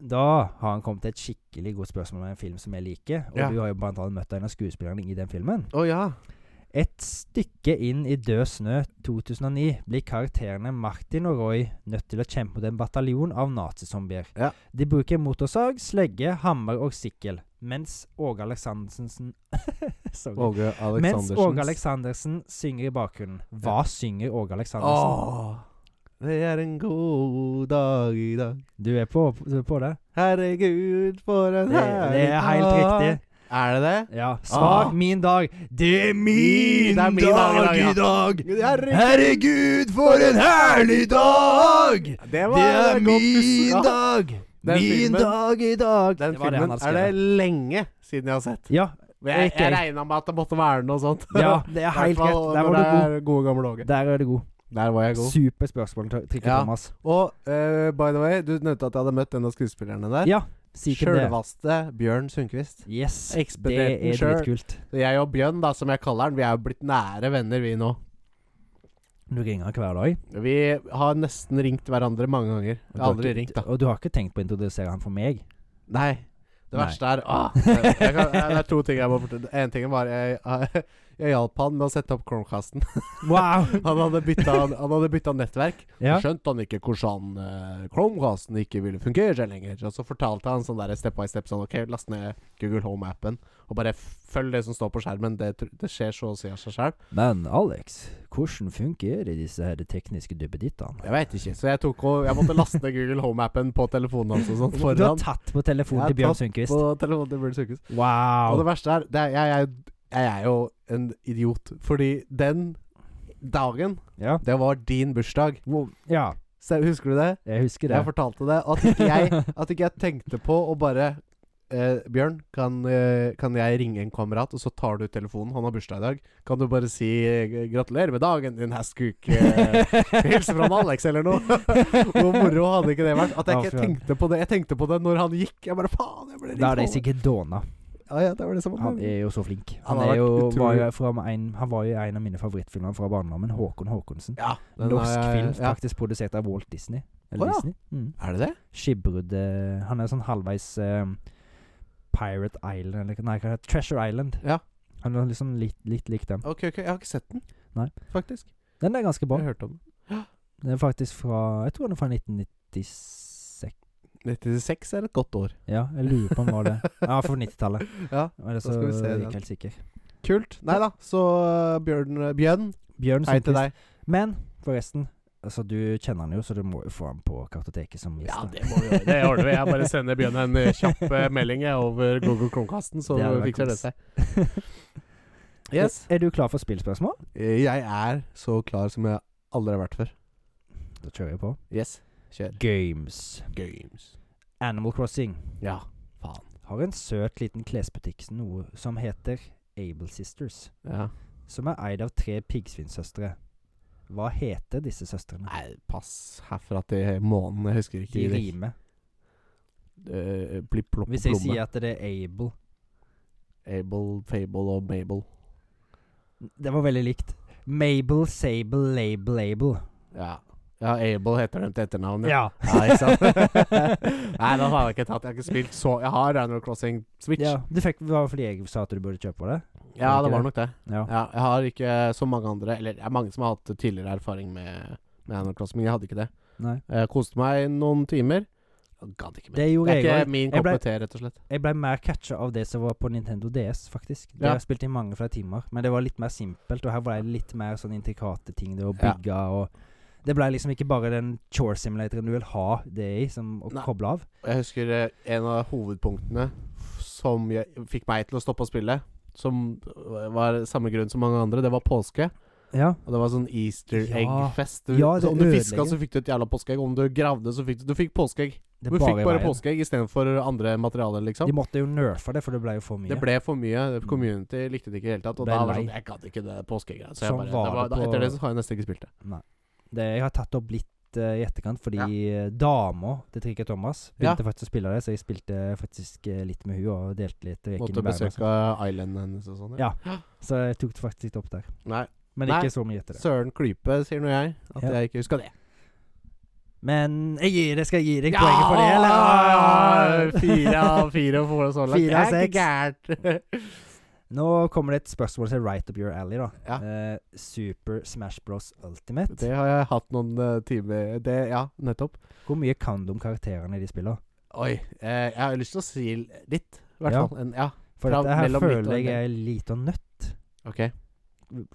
Speaker 1: Da har han kommet til et skikkelig godt spørsmål med en film som jeg liker. Og
Speaker 2: Ja.
Speaker 1: du har jo blant annet møtt en av skuespillerne i den filmen.
Speaker 2: Å ja.
Speaker 1: Et stykke inn i Død snø 2009 blir karakterene Martin og Roy nødt til å kjempe mot en bataljon av nazizombier.
Speaker 2: Ja.
Speaker 1: De bruker motorsag, slegge, hammer og sikkel, mens Åge Aleksandersen [laughs] Sorry.
Speaker 2: Åge
Speaker 1: Mens Åge
Speaker 2: Aleksandersen.
Speaker 1: Aleksandersen synger i bakgrunnen. Hva synger Åge Aleksandersen?
Speaker 2: Åh, det er en god dag i dag.
Speaker 1: Du er på, du er på det?
Speaker 2: Herregud, for en
Speaker 1: Det, det er helt riktig.
Speaker 2: Er det det?
Speaker 1: Ja. Svar
Speaker 2: Ah.
Speaker 1: min dag. Det er min,
Speaker 2: Det er min dag i
Speaker 1: dag,
Speaker 2: dag, ja.
Speaker 1: i dag.
Speaker 2: Herregud.
Speaker 1: Herregud, for en herlig dag!
Speaker 2: Det, var,
Speaker 1: Det er
Speaker 2: godt du s-
Speaker 1: min
Speaker 2: ja.
Speaker 1: dag.
Speaker 2: Den
Speaker 1: Min
Speaker 2: filmen-
Speaker 1: dag i dag.
Speaker 2: Den
Speaker 1: Det var det han
Speaker 2: filmen
Speaker 1: hadde
Speaker 2: er det
Speaker 1: skrevet.
Speaker 2: lenge siden jeg har sett.
Speaker 1: Ja,
Speaker 2: Men jeg,
Speaker 1: Ikke jeg.
Speaker 2: jeg regna med at det måtte være noe sånt.
Speaker 1: ja, det er
Speaker 2: [laughs] I hvert
Speaker 1: helt
Speaker 2: fall
Speaker 1: rett. Der
Speaker 2: når
Speaker 1: var du
Speaker 2: det
Speaker 1: god.
Speaker 2: er Gode gamle Åge.
Speaker 1: Der er du god.
Speaker 2: Der var jeg god.
Speaker 1: Super spørsmål, Trikke
Speaker 2: Ja.
Speaker 1: Thomas.
Speaker 2: Og eh, by the way, du nevnte at jeg hadde møtt en av skuespillerne der.
Speaker 1: Ja, si ikke det.
Speaker 2: Sjølvaste Bjørn Sundquist.
Speaker 1: Yes, det
Speaker 2: Ekspedienten
Speaker 1: er
Speaker 2: sjøl.
Speaker 1: dritkult.
Speaker 2: Så Jeg og Bjørn, da, som jeg kaller han, vi er jo blitt nære venner, vi nå.
Speaker 1: Du ringer hver dag.
Speaker 2: Vi har nesten ringt hverandre mange ganger. Jeg har
Speaker 1: Og du
Speaker 2: aldri
Speaker 1: har ikke-
Speaker 2: ringt, da.
Speaker 1: Og du har ikke tenkt på å introdusere han for meg?
Speaker 2: Nei. Det
Speaker 1: Nei.
Speaker 2: verste er ah, jeg, jeg kan, jeg, Det er to ting jeg må fortelle. En ting var jeg, [laughs] jeg, jeg hjalp han med å sette opp Chromecasten. [laughs]
Speaker 1: Wow!
Speaker 2: Han hadde bytta, han hadde bytta nettverk.
Speaker 1: [laughs] Ja.
Speaker 2: Så skjønte han ikke hvordan eh, Chromecasten ikke ville fungere lenger. Og så fortalte han sånn der step by step sånn OK, last ned Google Home-appen, og bare følg det som står på skjermen. Det, tr- det skjer så å si av seg sjøl.
Speaker 1: Men Alex, hvordan fungerer disse her tekniske duppedittene?
Speaker 2: Jeg veit ikke. Så jeg, tok og, jeg måtte laste ned Google Home-appen på telefonen hans og sånn.
Speaker 1: [laughs] Du har
Speaker 2: Foran
Speaker 1: tatt på telefonen
Speaker 2: Jeg
Speaker 1: til Bjørn
Speaker 2: har
Speaker 1: Sundquist.
Speaker 2: på telefonen til Bjørn Sykehus. Og
Speaker 1: Wow!
Speaker 2: det verste er, det er jeg, jeg, jeg er jo en idiot. Fordi den dagen,
Speaker 1: Ja.
Speaker 2: det var din bursdag.
Speaker 1: Wow. ja,
Speaker 2: Se, husker du det?
Speaker 1: jeg husker det.
Speaker 2: Jeg fortalte det. At ikke
Speaker 1: [laughs]
Speaker 2: jeg, at ikke jeg tenkte på å bare eh, Bjørn, kan, eh, kan jeg ringe en kamerat, og så tar du telefonen? Han har bursdag i dag. Kan du bare si eh, 'gratulerer med dagen, din hestkuk'?
Speaker 1: [laughs]
Speaker 2: Eh, Hils fra han Alex eller noe. [laughs] Hvor moro hadde ikke det vært? At jeg
Speaker 1: Ja,
Speaker 2: ikke
Speaker 1: faen.
Speaker 2: tenkte på det. Jeg tenkte på det når han gikk. Jeg bare faen, jeg ble
Speaker 1: Da er det
Speaker 2: ringt.
Speaker 1: sikkert Dona.
Speaker 2: Ja, ja, det var det som var
Speaker 1: Han er jo så flink. Han,
Speaker 2: Han har
Speaker 1: er jo,
Speaker 2: vært
Speaker 1: var,
Speaker 2: utrolig-
Speaker 1: jo fra en, han var jo i en av mine favorittfilmer fra barndommen, Håkon Håkonsen.
Speaker 2: Ja, den
Speaker 1: Norsk
Speaker 2: har jeg-
Speaker 1: film,
Speaker 2: ja.
Speaker 1: faktisk produsert av Walt Disney. Eller
Speaker 2: Å, ja.
Speaker 1: Disney. Mm.
Speaker 2: Er det det?
Speaker 1: Skipbrudd eh, Han er sånn halvveis eh, Pirate Island, eller nei, hva heter det? Treasure Island.
Speaker 2: Ja.
Speaker 1: Han er liksom litt, litt lik den.
Speaker 2: Ok, ok, jeg har ikke sett den.
Speaker 1: Nei.
Speaker 2: Faktisk.
Speaker 1: Den er ganske
Speaker 2: Jeg
Speaker 1: bra.
Speaker 2: har hørt om den.
Speaker 1: Den er faktisk fra Jeg tror den er fra 1996.
Speaker 2: 96 er et godt år.
Speaker 1: Ja, jeg lurer på om var det Ja, fra 90-tallet.
Speaker 2: [laughs] Ja,
Speaker 1: Eller så
Speaker 2: skal vi se
Speaker 1: er jeg
Speaker 2: den.
Speaker 1: ikke helt sikker.
Speaker 2: Kult. Nei da, så uh, Bjørn uh, Bjørn,
Speaker 1: Bjørn
Speaker 2: hei til
Speaker 1: Sundquist.
Speaker 2: deg.
Speaker 1: Men forresten, altså du kjenner han jo, så du må jo få han på kartoteket som gjest.
Speaker 2: Ja,
Speaker 1: da.
Speaker 2: det må vi gjøre. Det ordner vi. Jeg bare sender Bjørn en uh, kjapp uh, melding jeg, over Google Chromekasten, så
Speaker 1: Det hadde vært
Speaker 2: fikser det
Speaker 1: kos. [laughs]
Speaker 2: seg. Yes.
Speaker 1: Er du klar for spillspørsmål?
Speaker 2: Jeg er så klar som jeg aldri har vært før.
Speaker 1: Da kjører jeg på.
Speaker 2: Yes. Kjør.
Speaker 1: Games.
Speaker 2: Games.
Speaker 1: Animal Crossing
Speaker 2: Ja. Faen.
Speaker 1: har en søt liten klesbutikk som noe som heter Able Sisters,
Speaker 2: Ja.
Speaker 1: som er eid av tre piggsvinsøstre. Hva heter disse søstrene?
Speaker 2: Nei, pass herfra til månen. Jeg husker ikke.
Speaker 1: De rimer.
Speaker 2: Uh, Blipp, plopp,
Speaker 1: Hvis jeg
Speaker 2: plomme.
Speaker 1: sier at det er Able
Speaker 2: Able, Fable og Mabel.
Speaker 1: Det var veldig likt. Mabel, Sable, Label, Label.
Speaker 2: Ja. ja, Able heter dem til etternavn. ja.
Speaker 1: Ja.
Speaker 2: Ja, ikke
Speaker 1: [laughs]
Speaker 2: sant? Nei, den har jeg ikke tatt. Jeg har ikke spilt så Jeg har Animal Crossing Switch.
Speaker 1: ja.
Speaker 2: Ja,
Speaker 1: Du fikk, det var fordi jeg sa at du burde kjøpe det?
Speaker 2: det var nok det.
Speaker 1: Ja.
Speaker 2: Ja, jeg har ikke så mange andre Eller det er mange som har hatt tidligere erfaring med, med Animal Crossing, men jeg hadde ikke det.
Speaker 1: Nei.
Speaker 2: Jeg koste meg noen timer. Jeg Gadd ikke mer.
Speaker 1: Det gjorde
Speaker 2: Det er
Speaker 1: jeg òg.
Speaker 2: ikke min
Speaker 1: Jeg
Speaker 2: kopp
Speaker 1: ble-
Speaker 2: med te, rett og slett.
Speaker 1: Jeg ble mer catcha av det som var på Nintendo DS, faktisk. Det
Speaker 2: Ja.
Speaker 1: har jeg spilt i mange flere timer, men det var litt mer simpelt. Og her var det litt mer sånn intrikate ting, det å
Speaker 2: Ja.
Speaker 1: bygge og Det ble liksom ikke bare den chore simulatoren du vil ha det i, som å
Speaker 2: Nei.
Speaker 1: koble av.
Speaker 2: Og Jeg husker eh, en av hovedpunktene f- som jeg, fikk meg til å stoppe å spille, som var samme grunn som mange andre, det var påske.
Speaker 1: Ja.
Speaker 2: Og det var sånn easter
Speaker 1: Ja.
Speaker 2: egg-fest. Du-
Speaker 1: Ja, det
Speaker 2: så om du
Speaker 1: ødelegger.
Speaker 2: fiska, så fikk du et jævla påskeegg. Om du gravde, så fikk du Du fikk påskeegg.
Speaker 1: Det
Speaker 2: Du
Speaker 1: er
Speaker 2: fikk
Speaker 1: i
Speaker 2: bare
Speaker 1: veien.
Speaker 2: påskeegg istedenfor andre materialer, liksom.
Speaker 1: De måtte jo nerfe det, for det ble jo for mye.
Speaker 2: Det ble for mye. Community likte det ikke i det hele tatt. Og
Speaker 1: Ble
Speaker 2: da var
Speaker 1: lei.
Speaker 2: det sånn Jeg gadd ikke det påskeegget. Så jeg
Speaker 1: Sånn
Speaker 2: bare, det
Speaker 1: var
Speaker 2: var,
Speaker 1: det
Speaker 2: da,
Speaker 1: på-
Speaker 2: etter det så har jeg nesten ikke spilt det.
Speaker 1: Det, jeg har tatt opp litt eh, i etterkant, fordi eh, dama til Trikke Thomas
Speaker 2: Ja.
Speaker 1: begynte faktisk å spille det, så jeg spilte faktisk eh, litt med hun og delte litt. og gikk inn
Speaker 2: Måtte
Speaker 1: i verden og
Speaker 2: besøke island hennes og sånn.
Speaker 1: altså. Ja. sånn. Så jeg tok det faktisk litt opp der.
Speaker 2: Nei,
Speaker 1: Men
Speaker 2: Nei,
Speaker 1: ikke så mye etter det.
Speaker 2: Søren klype, sier nå jeg. At
Speaker 1: Ja.
Speaker 2: jeg ikke huska det.
Speaker 1: Men jeg gir det, skal jeg gi deg poenget for det, [laughs] eller?
Speaker 2: Ja, Fire av fire og får det så langt.
Speaker 1: Fire av
Speaker 2: det er ikke gærent.
Speaker 1: Nå kommer det et spørsmål til right up your alley, da.
Speaker 2: Ja.
Speaker 1: Eh, Super Smash Bros Ultimate.
Speaker 2: det har jeg hatt noen eh, timer Det, ja, nettopp.
Speaker 1: Hvor mye kan du om karakterene de spiller?
Speaker 2: Oi. Eh, jeg har lyst til å si l- litt, i hvert
Speaker 1: Ja.
Speaker 2: fall. En, ja,
Speaker 1: For
Speaker 2: Fra
Speaker 1: dette her
Speaker 2: mellom litt og
Speaker 1: føler
Speaker 2: en
Speaker 1: jeg er lite og nødt.
Speaker 2: ok. Eh,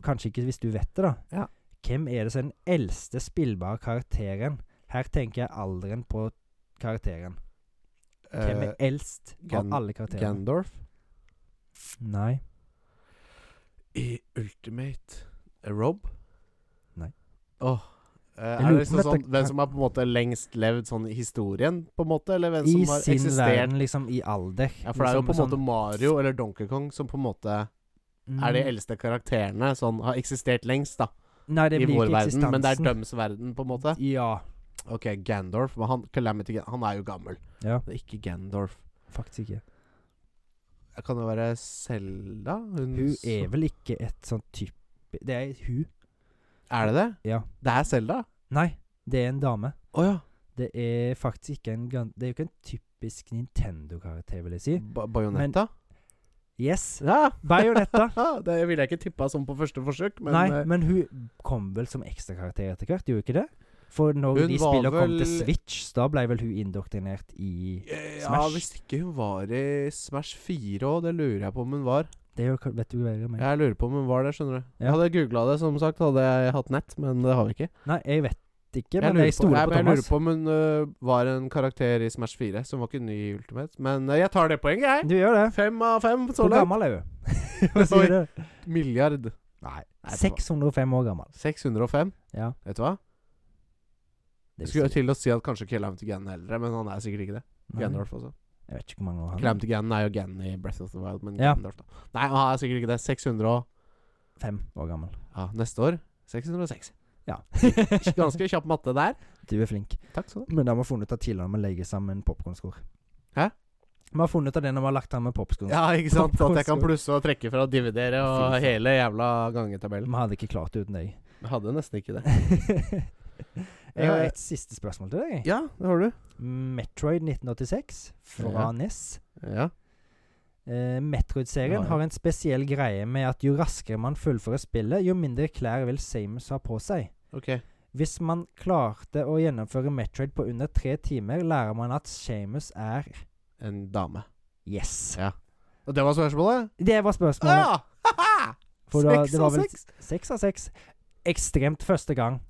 Speaker 1: Kanskje ikke hvis du vet det, da.
Speaker 2: Ja.
Speaker 1: Hvem er det som er den eldste spillbare karakteren? Her tenker jeg alderen på karakteren. Hvem er
Speaker 2: Eh,
Speaker 1: eldst av
Speaker 2: Gan-
Speaker 1: alle karakterene?
Speaker 2: Gandorf.
Speaker 1: Nei.
Speaker 2: I Ultimate Rob?
Speaker 1: Nei.
Speaker 2: Åh. eh,
Speaker 1: Jeg
Speaker 2: er
Speaker 1: lurer
Speaker 2: det
Speaker 1: på
Speaker 2: liksom
Speaker 1: om dette
Speaker 2: sånn, hvem
Speaker 1: kan-
Speaker 2: som har på en måte lengst levd sånn i historien, på en måte? Eller hvem som
Speaker 1: I
Speaker 2: har
Speaker 1: sin
Speaker 2: eksistert
Speaker 1: verden, liksom. I alder.
Speaker 2: Ja, For det er jo
Speaker 1: liksom
Speaker 2: på en måte
Speaker 1: sånn-
Speaker 2: Mario eller Donkey Kong som på en måte er de
Speaker 1: Mm.
Speaker 2: eldste karakterene som har eksistert lengst, da.
Speaker 1: Nei, det
Speaker 2: I
Speaker 1: blir
Speaker 2: vår
Speaker 1: ikke
Speaker 2: verden,
Speaker 1: eksistensen.
Speaker 2: men det er døms verden, på en måte.
Speaker 1: Ja.
Speaker 2: Ok, Gandorf. Men han, Calamity, Gan- han er jo gammel.
Speaker 1: ja.
Speaker 2: Det er ikke Gandorf.
Speaker 1: Faktisk ikke.
Speaker 2: Det Kan det være Selda?
Speaker 1: Hun er vel ikke et sånn type Det er hun.
Speaker 2: Er det det?
Speaker 1: Ja.
Speaker 2: Det er Selda?
Speaker 1: Nei, det er en dame.
Speaker 2: Å ja.
Speaker 1: Det er faktisk ikke en gan- Det er jo ikke en typisk Nintendo-karakter, vil jeg si.
Speaker 2: Ba Bajonetta?
Speaker 1: Yes!
Speaker 2: Ja!
Speaker 1: Bajonetta.
Speaker 2: det ville jeg ikke tippa sånn på første forsøk, [laughs] men
Speaker 1: Nei,
Speaker 2: eh,
Speaker 1: men hun kom vel som ekstrakarakter etter hvert, gjorde hun ikke det? For når
Speaker 2: Hun
Speaker 1: de
Speaker 2: var
Speaker 1: spillene kom til
Speaker 2: vel-
Speaker 1: Switch, da ble vel hun indoktrinert i
Speaker 2: eh, Ja,
Speaker 1: Smash.
Speaker 2: hvis ikke hun var i Smash 4 òg, det lurer jeg på om hun var.
Speaker 1: Det er jo, vet du bedre enn meg.
Speaker 2: Jeg lurer på om hun var det, skjønner du.
Speaker 1: Ja.
Speaker 2: Jeg hadde googla det, som sagt, hadde jeg hatt nett, men det har vi ikke.
Speaker 1: Nei, jeg vet ikke,
Speaker 2: jeg,
Speaker 1: men
Speaker 2: lurer
Speaker 1: jeg stoler
Speaker 2: Nei,
Speaker 1: på,
Speaker 2: men jeg
Speaker 1: Thomas.
Speaker 2: lurer på om hun øh, var en karakter i Smash 4, som var ikke ny i Ultimate. Men øh, jeg tar det poenget, jeg!
Speaker 1: Du gjør det.
Speaker 2: Fem av fem
Speaker 1: Hvor
Speaker 2: så langt.
Speaker 1: gammel er hun? [laughs] Hva sier du?
Speaker 2: Milliard.
Speaker 1: Nei,
Speaker 2: det var-
Speaker 1: 605 år gammel.
Speaker 2: 605.
Speaker 1: Ja,
Speaker 2: Vet du hva?
Speaker 1: det
Speaker 2: Jeg
Speaker 1: vil
Speaker 2: skulle
Speaker 1: si.
Speaker 2: til å si at kanskje Calamity Gannon er eldre, men han er sikkert ikke det.
Speaker 1: Nei,
Speaker 2: Gandalf, altså.
Speaker 1: Jeg vet ikke hvor mange år han er.
Speaker 2: Calamity Gannon er jo Gannon i Breath of the Wild, men
Speaker 1: Ja.
Speaker 2: Gandalf, da. Nei, han er sikkert ikke det. 600 og
Speaker 1: Fem år gammel.
Speaker 2: Ja, neste år 606. [laughs]
Speaker 1: Ja.
Speaker 2: Ganske kjapp matte der.
Speaker 1: Du er flink.
Speaker 2: Takk skal du ha.
Speaker 1: Men det har vi funnet ut av tidligere når vi legger sammen popkornskor.
Speaker 2: Hæ?
Speaker 1: Vi har funnet ut av det når vi har lagt sammen popkornskor.
Speaker 2: Ja, ikke sant? At jeg kan plusse og trekke fra og dividere og
Speaker 1: Fy faen.
Speaker 2: hele jævla gangetabellen.
Speaker 1: Vi hadde ikke klart det uten [laughs] deg.
Speaker 2: Jeg hadde nesten ikke det.
Speaker 1: jeg har
Speaker 2: Eh,
Speaker 1: et siste spørsmål til deg.
Speaker 2: Ja, det har du.
Speaker 1: Metroid 1986 fra E
Speaker 2: Ja.
Speaker 1: NES.
Speaker 2: Ja.
Speaker 1: Eh, Metroid-serien
Speaker 2: Ja, ja.
Speaker 1: har en spesiell greie med at jo raskere man fullfører spillet, jo mindre klær vil Samus ha på seg.
Speaker 2: Ok.
Speaker 1: Hvis man klarte å gjennomføre Metroid på under tre timer, lærer man at Samus er
Speaker 2: En dame.
Speaker 1: Yes.
Speaker 2: Ja. Og det var spørsmålet?
Speaker 1: Det var spørsmålet.
Speaker 2: Ja!
Speaker 1: For da,
Speaker 2: Ah, Seks
Speaker 1: det var
Speaker 2: av
Speaker 1: vel
Speaker 2: seks.
Speaker 1: seks av seks. Ekstremt første gang.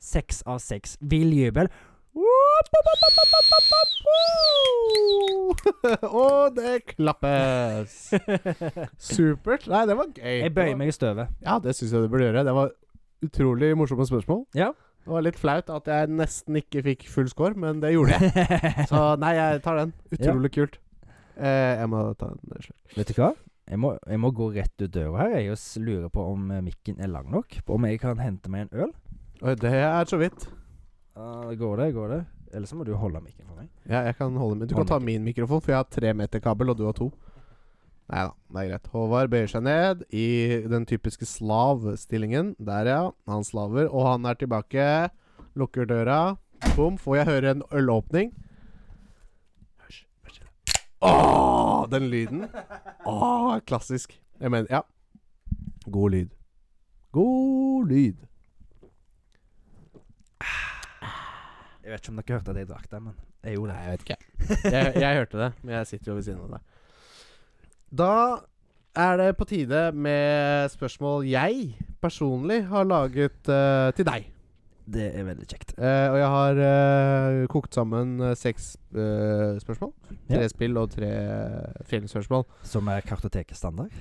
Speaker 1: Seks av seks. Vill
Speaker 2: [laughs]
Speaker 1: jubel.
Speaker 2: [laughs] Og det klappes. [laughs] Supert. Nei, det var gøy.
Speaker 1: Jeg bøyer meg i støvet.
Speaker 2: Ja, det syns jeg du burde gjøre. Det var utrolig morsomme spørsmål. [laughs]
Speaker 1: Ja.
Speaker 2: Det var litt flaut at jeg nesten ikke fikk full score, men det gjorde jeg. Så nei, jeg tar
Speaker 1: [laughs]
Speaker 2: den. Utrolig kult. Eh, jeg må ta en slurk.
Speaker 1: Vet du hva? Jeg må, jeg må gå rett ut døra her jeg og s- lurer på om eh, mikken er lang nok. Om jeg kan hente meg en øl.
Speaker 2: Oi, det er så vidt.
Speaker 1: Ja, går det, går det. Eller så må du holde mikken for meg.
Speaker 2: Ja, jeg kan holde min. Du kan ta min mikrofon, for jeg har tre meter kabel, og du har to. Nei da, det er greit. Håvard bøyer seg ned i den typiske slavstillingen. Der, ja. Han slaver, og han er tilbake. Lukker døra. Bom, får jeg høre en ølåpning. Hørs, hørs. Åh, den lyden. Åh, klassisk. Jeg mener, ja. God lyd. God lyd.
Speaker 1: Jeg vet ikke om dere hørte at jeg drakk det, men jeg gjorde det.
Speaker 2: jeg vet ikke. jeg, jeg hørte det, men jeg sitter jo ved siden av deg. Da er det på tide med spørsmål jeg personlig har laget eh, til deg.
Speaker 1: Det er veldig kjekt.
Speaker 2: Eh, og jeg har eh, kokt sammen eh, seks eh, spørsmål. Tre
Speaker 1: Ja.
Speaker 2: spill og tre filmspørsmål.
Speaker 1: Som er kartotekestandard.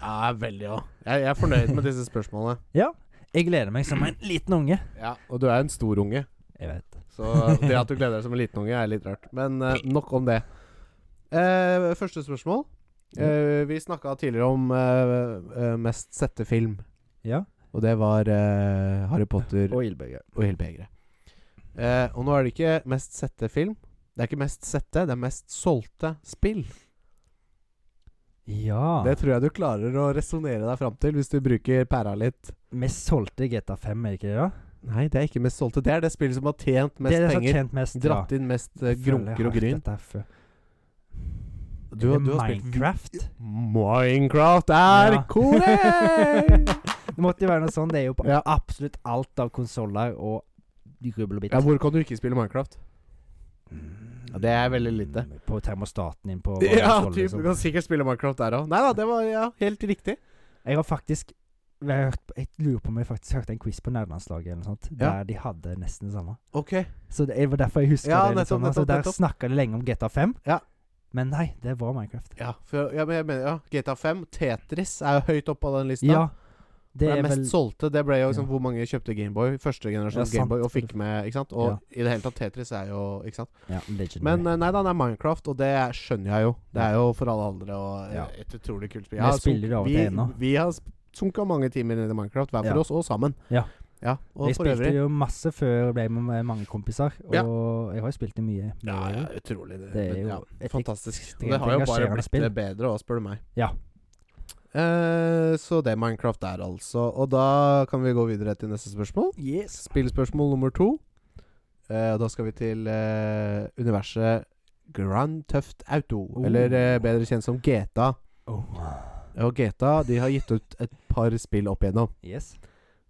Speaker 2: Ja, veldig òg. Jeg, jeg er fornøyd med disse spørsmålene.
Speaker 1: Ja. Jeg gleder meg som [clears throat] en liten unge.
Speaker 2: Ja, Og du er en stor unge,
Speaker 1: Jeg vet.
Speaker 2: så det at du gleder deg som en liten unge, er litt rart. Men eh, nok om det. Eh, første spørsmål. Eh, vi snakka tidligere om eh, eh, mest sette film,
Speaker 1: Ja.
Speaker 2: og det var eh, Harry Potter og,
Speaker 1: Og ildbøye.
Speaker 2: Ildbegeret. Eh, og nå er det ikke mest sette film. Det er ikke mest sette, det er mest solgte spill.
Speaker 1: Ja.
Speaker 2: Det tror jeg du klarer å resonnere deg fram til hvis du bruker pæra litt.
Speaker 1: Vi solgte GTA 5, er det ikke det? da?
Speaker 2: Nei, det er ikke mest solgte. Det er det spillet som har tjent mest
Speaker 1: det er det som har
Speaker 2: penger.
Speaker 1: tjent mest. ja.
Speaker 2: Dratt inn mest eh,
Speaker 1: Jeg føler jeg
Speaker 2: grunker
Speaker 1: har
Speaker 2: og gryn.
Speaker 1: hørt dette her før.
Speaker 2: Du, har-
Speaker 1: Er det
Speaker 2: du har spilt
Speaker 1: Minecraft?
Speaker 2: Minecraft er
Speaker 1: Ja.
Speaker 2: korrekt!
Speaker 1: [laughs] Det måtte jo være noe sånt. Det er jo på
Speaker 2: Ja.
Speaker 1: absolutt alt av konsoller og rubbel og bit.
Speaker 2: ja, hvor kan du ikke spille Minecraft? Ja, det er veldig lite.
Speaker 1: Mm, På termostaten
Speaker 2: [laughs]
Speaker 1: din på vår
Speaker 2: Ja,
Speaker 1: konsoll,
Speaker 2: typ,
Speaker 1: liksom.
Speaker 2: du kan sikkert spille Minecraft der òg. Nei da, det var ja, helt riktig.
Speaker 1: Jeg har faktisk jeg, har hørt, jeg lurer på om jeg faktisk hørte en quiz på Nærlandslaget eller noe sånt,
Speaker 2: Ja.
Speaker 1: der de hadde nesten det samme.
Speaker 2: Ok
Speaker 1: Så det det var derfor jeg husker
Speaker 2: Ja,
Speaker 1: det. litt
Speaker 2: nettopp,
Speaker 1: sånn, altså,
Speaker 2: nettopp,
Speaker 1: der
Speaker 2: nettopp.
Speaker 1: snakka de lenge om GTA 5.
Speaker 2: Ja.
Speaker 1: Men nei, det var Minecraft.
Speaker 2: Ja, for, ja, men jeg mener, ja GTA 5, Tetris er jo høyt oppe på den lista.
Speaker 1: Ja.
Speaker 2: det,
Speaker 1: Det er
Speaker 2: mest
Speaker 1: vel
Speaker 2: solgte det ble jo liksom,
Speaker 1: Ja.
Speaker 2: hvor mange kjøpte Gameboy. Første
Speaker 1: Ja,
Speaker 2: generasjon
Speaker 1: sant.
Speaker 2: Gameboy og fikk med, ikke sant. Og
Speaker 1: Ja.
Speaker 2: i det hele tatt, Tetris er jo Ikke sant.
Speaker 1: ja, legendary.
Speaker 2: Men eh, nei da, det er Minecraft, og det er- skjønner jeg jo. Det er jo for alle aldre og eh,
Speaker 1: Ja.
Speaker 2: et utrolig kult spill.
Speaker 1: Jeg
Speaker 2: har
Speaker 1: spiller
Speaker 2: sunk-
Speaker 1: det av og
Speaker 2: vi-
Speaker 1: til ennå.
Speaker 2: Vi har sp- sunket mange timer inn i Minecraft, hver
Speaker 1: Ja.
Speaker 2: for oss og sammen.
Speaker 1: Ja.
Speaker 2: ja og
Speaker 1: jeg
Speaker 2: for
Speaker 1: spilte
Speaker 2: øvrig
Speaker 1: jo masse før jeg ble med- med mange kompiser, og
Speaker 2: Ja.
Speaker 1: jeg har jo spilt det mye. med
Speaker 2: Ja, ja,
Speaker 1: dere.
Speaker 2: utrolig. Det,
Speaker 1: Det er jo
Speaker 2: ja,
Speaker 1: et
Speaker 2: fantastisk. Og det
Speaker 1: ekstremt
Speaker 2: har jo bare
Speaker 1: engasjerende
Speaker 2: blitt eh,
Speaker 1: spill.
Speaker 2: bedre òg, spør du meg.
Speaker 1: Ja.
Speaker 2: Eh, så det er Minecraft der, altså. Og da kan vi gå videre til neste spørsmål.
Speaker 1: Yes.
Speaker 2: Spillspørsmål nummer to. Eh, og da skal vi til eh, universet Grand Theft Auto,
Speaker 1: Oh.
Speaker 2: eller eh, bedre kjent som GTA.
Speaker 1: Oh.
Speaker 2: Og GTA de har gitt ut et par spill opp igjennom.
Speaker 1: Yes.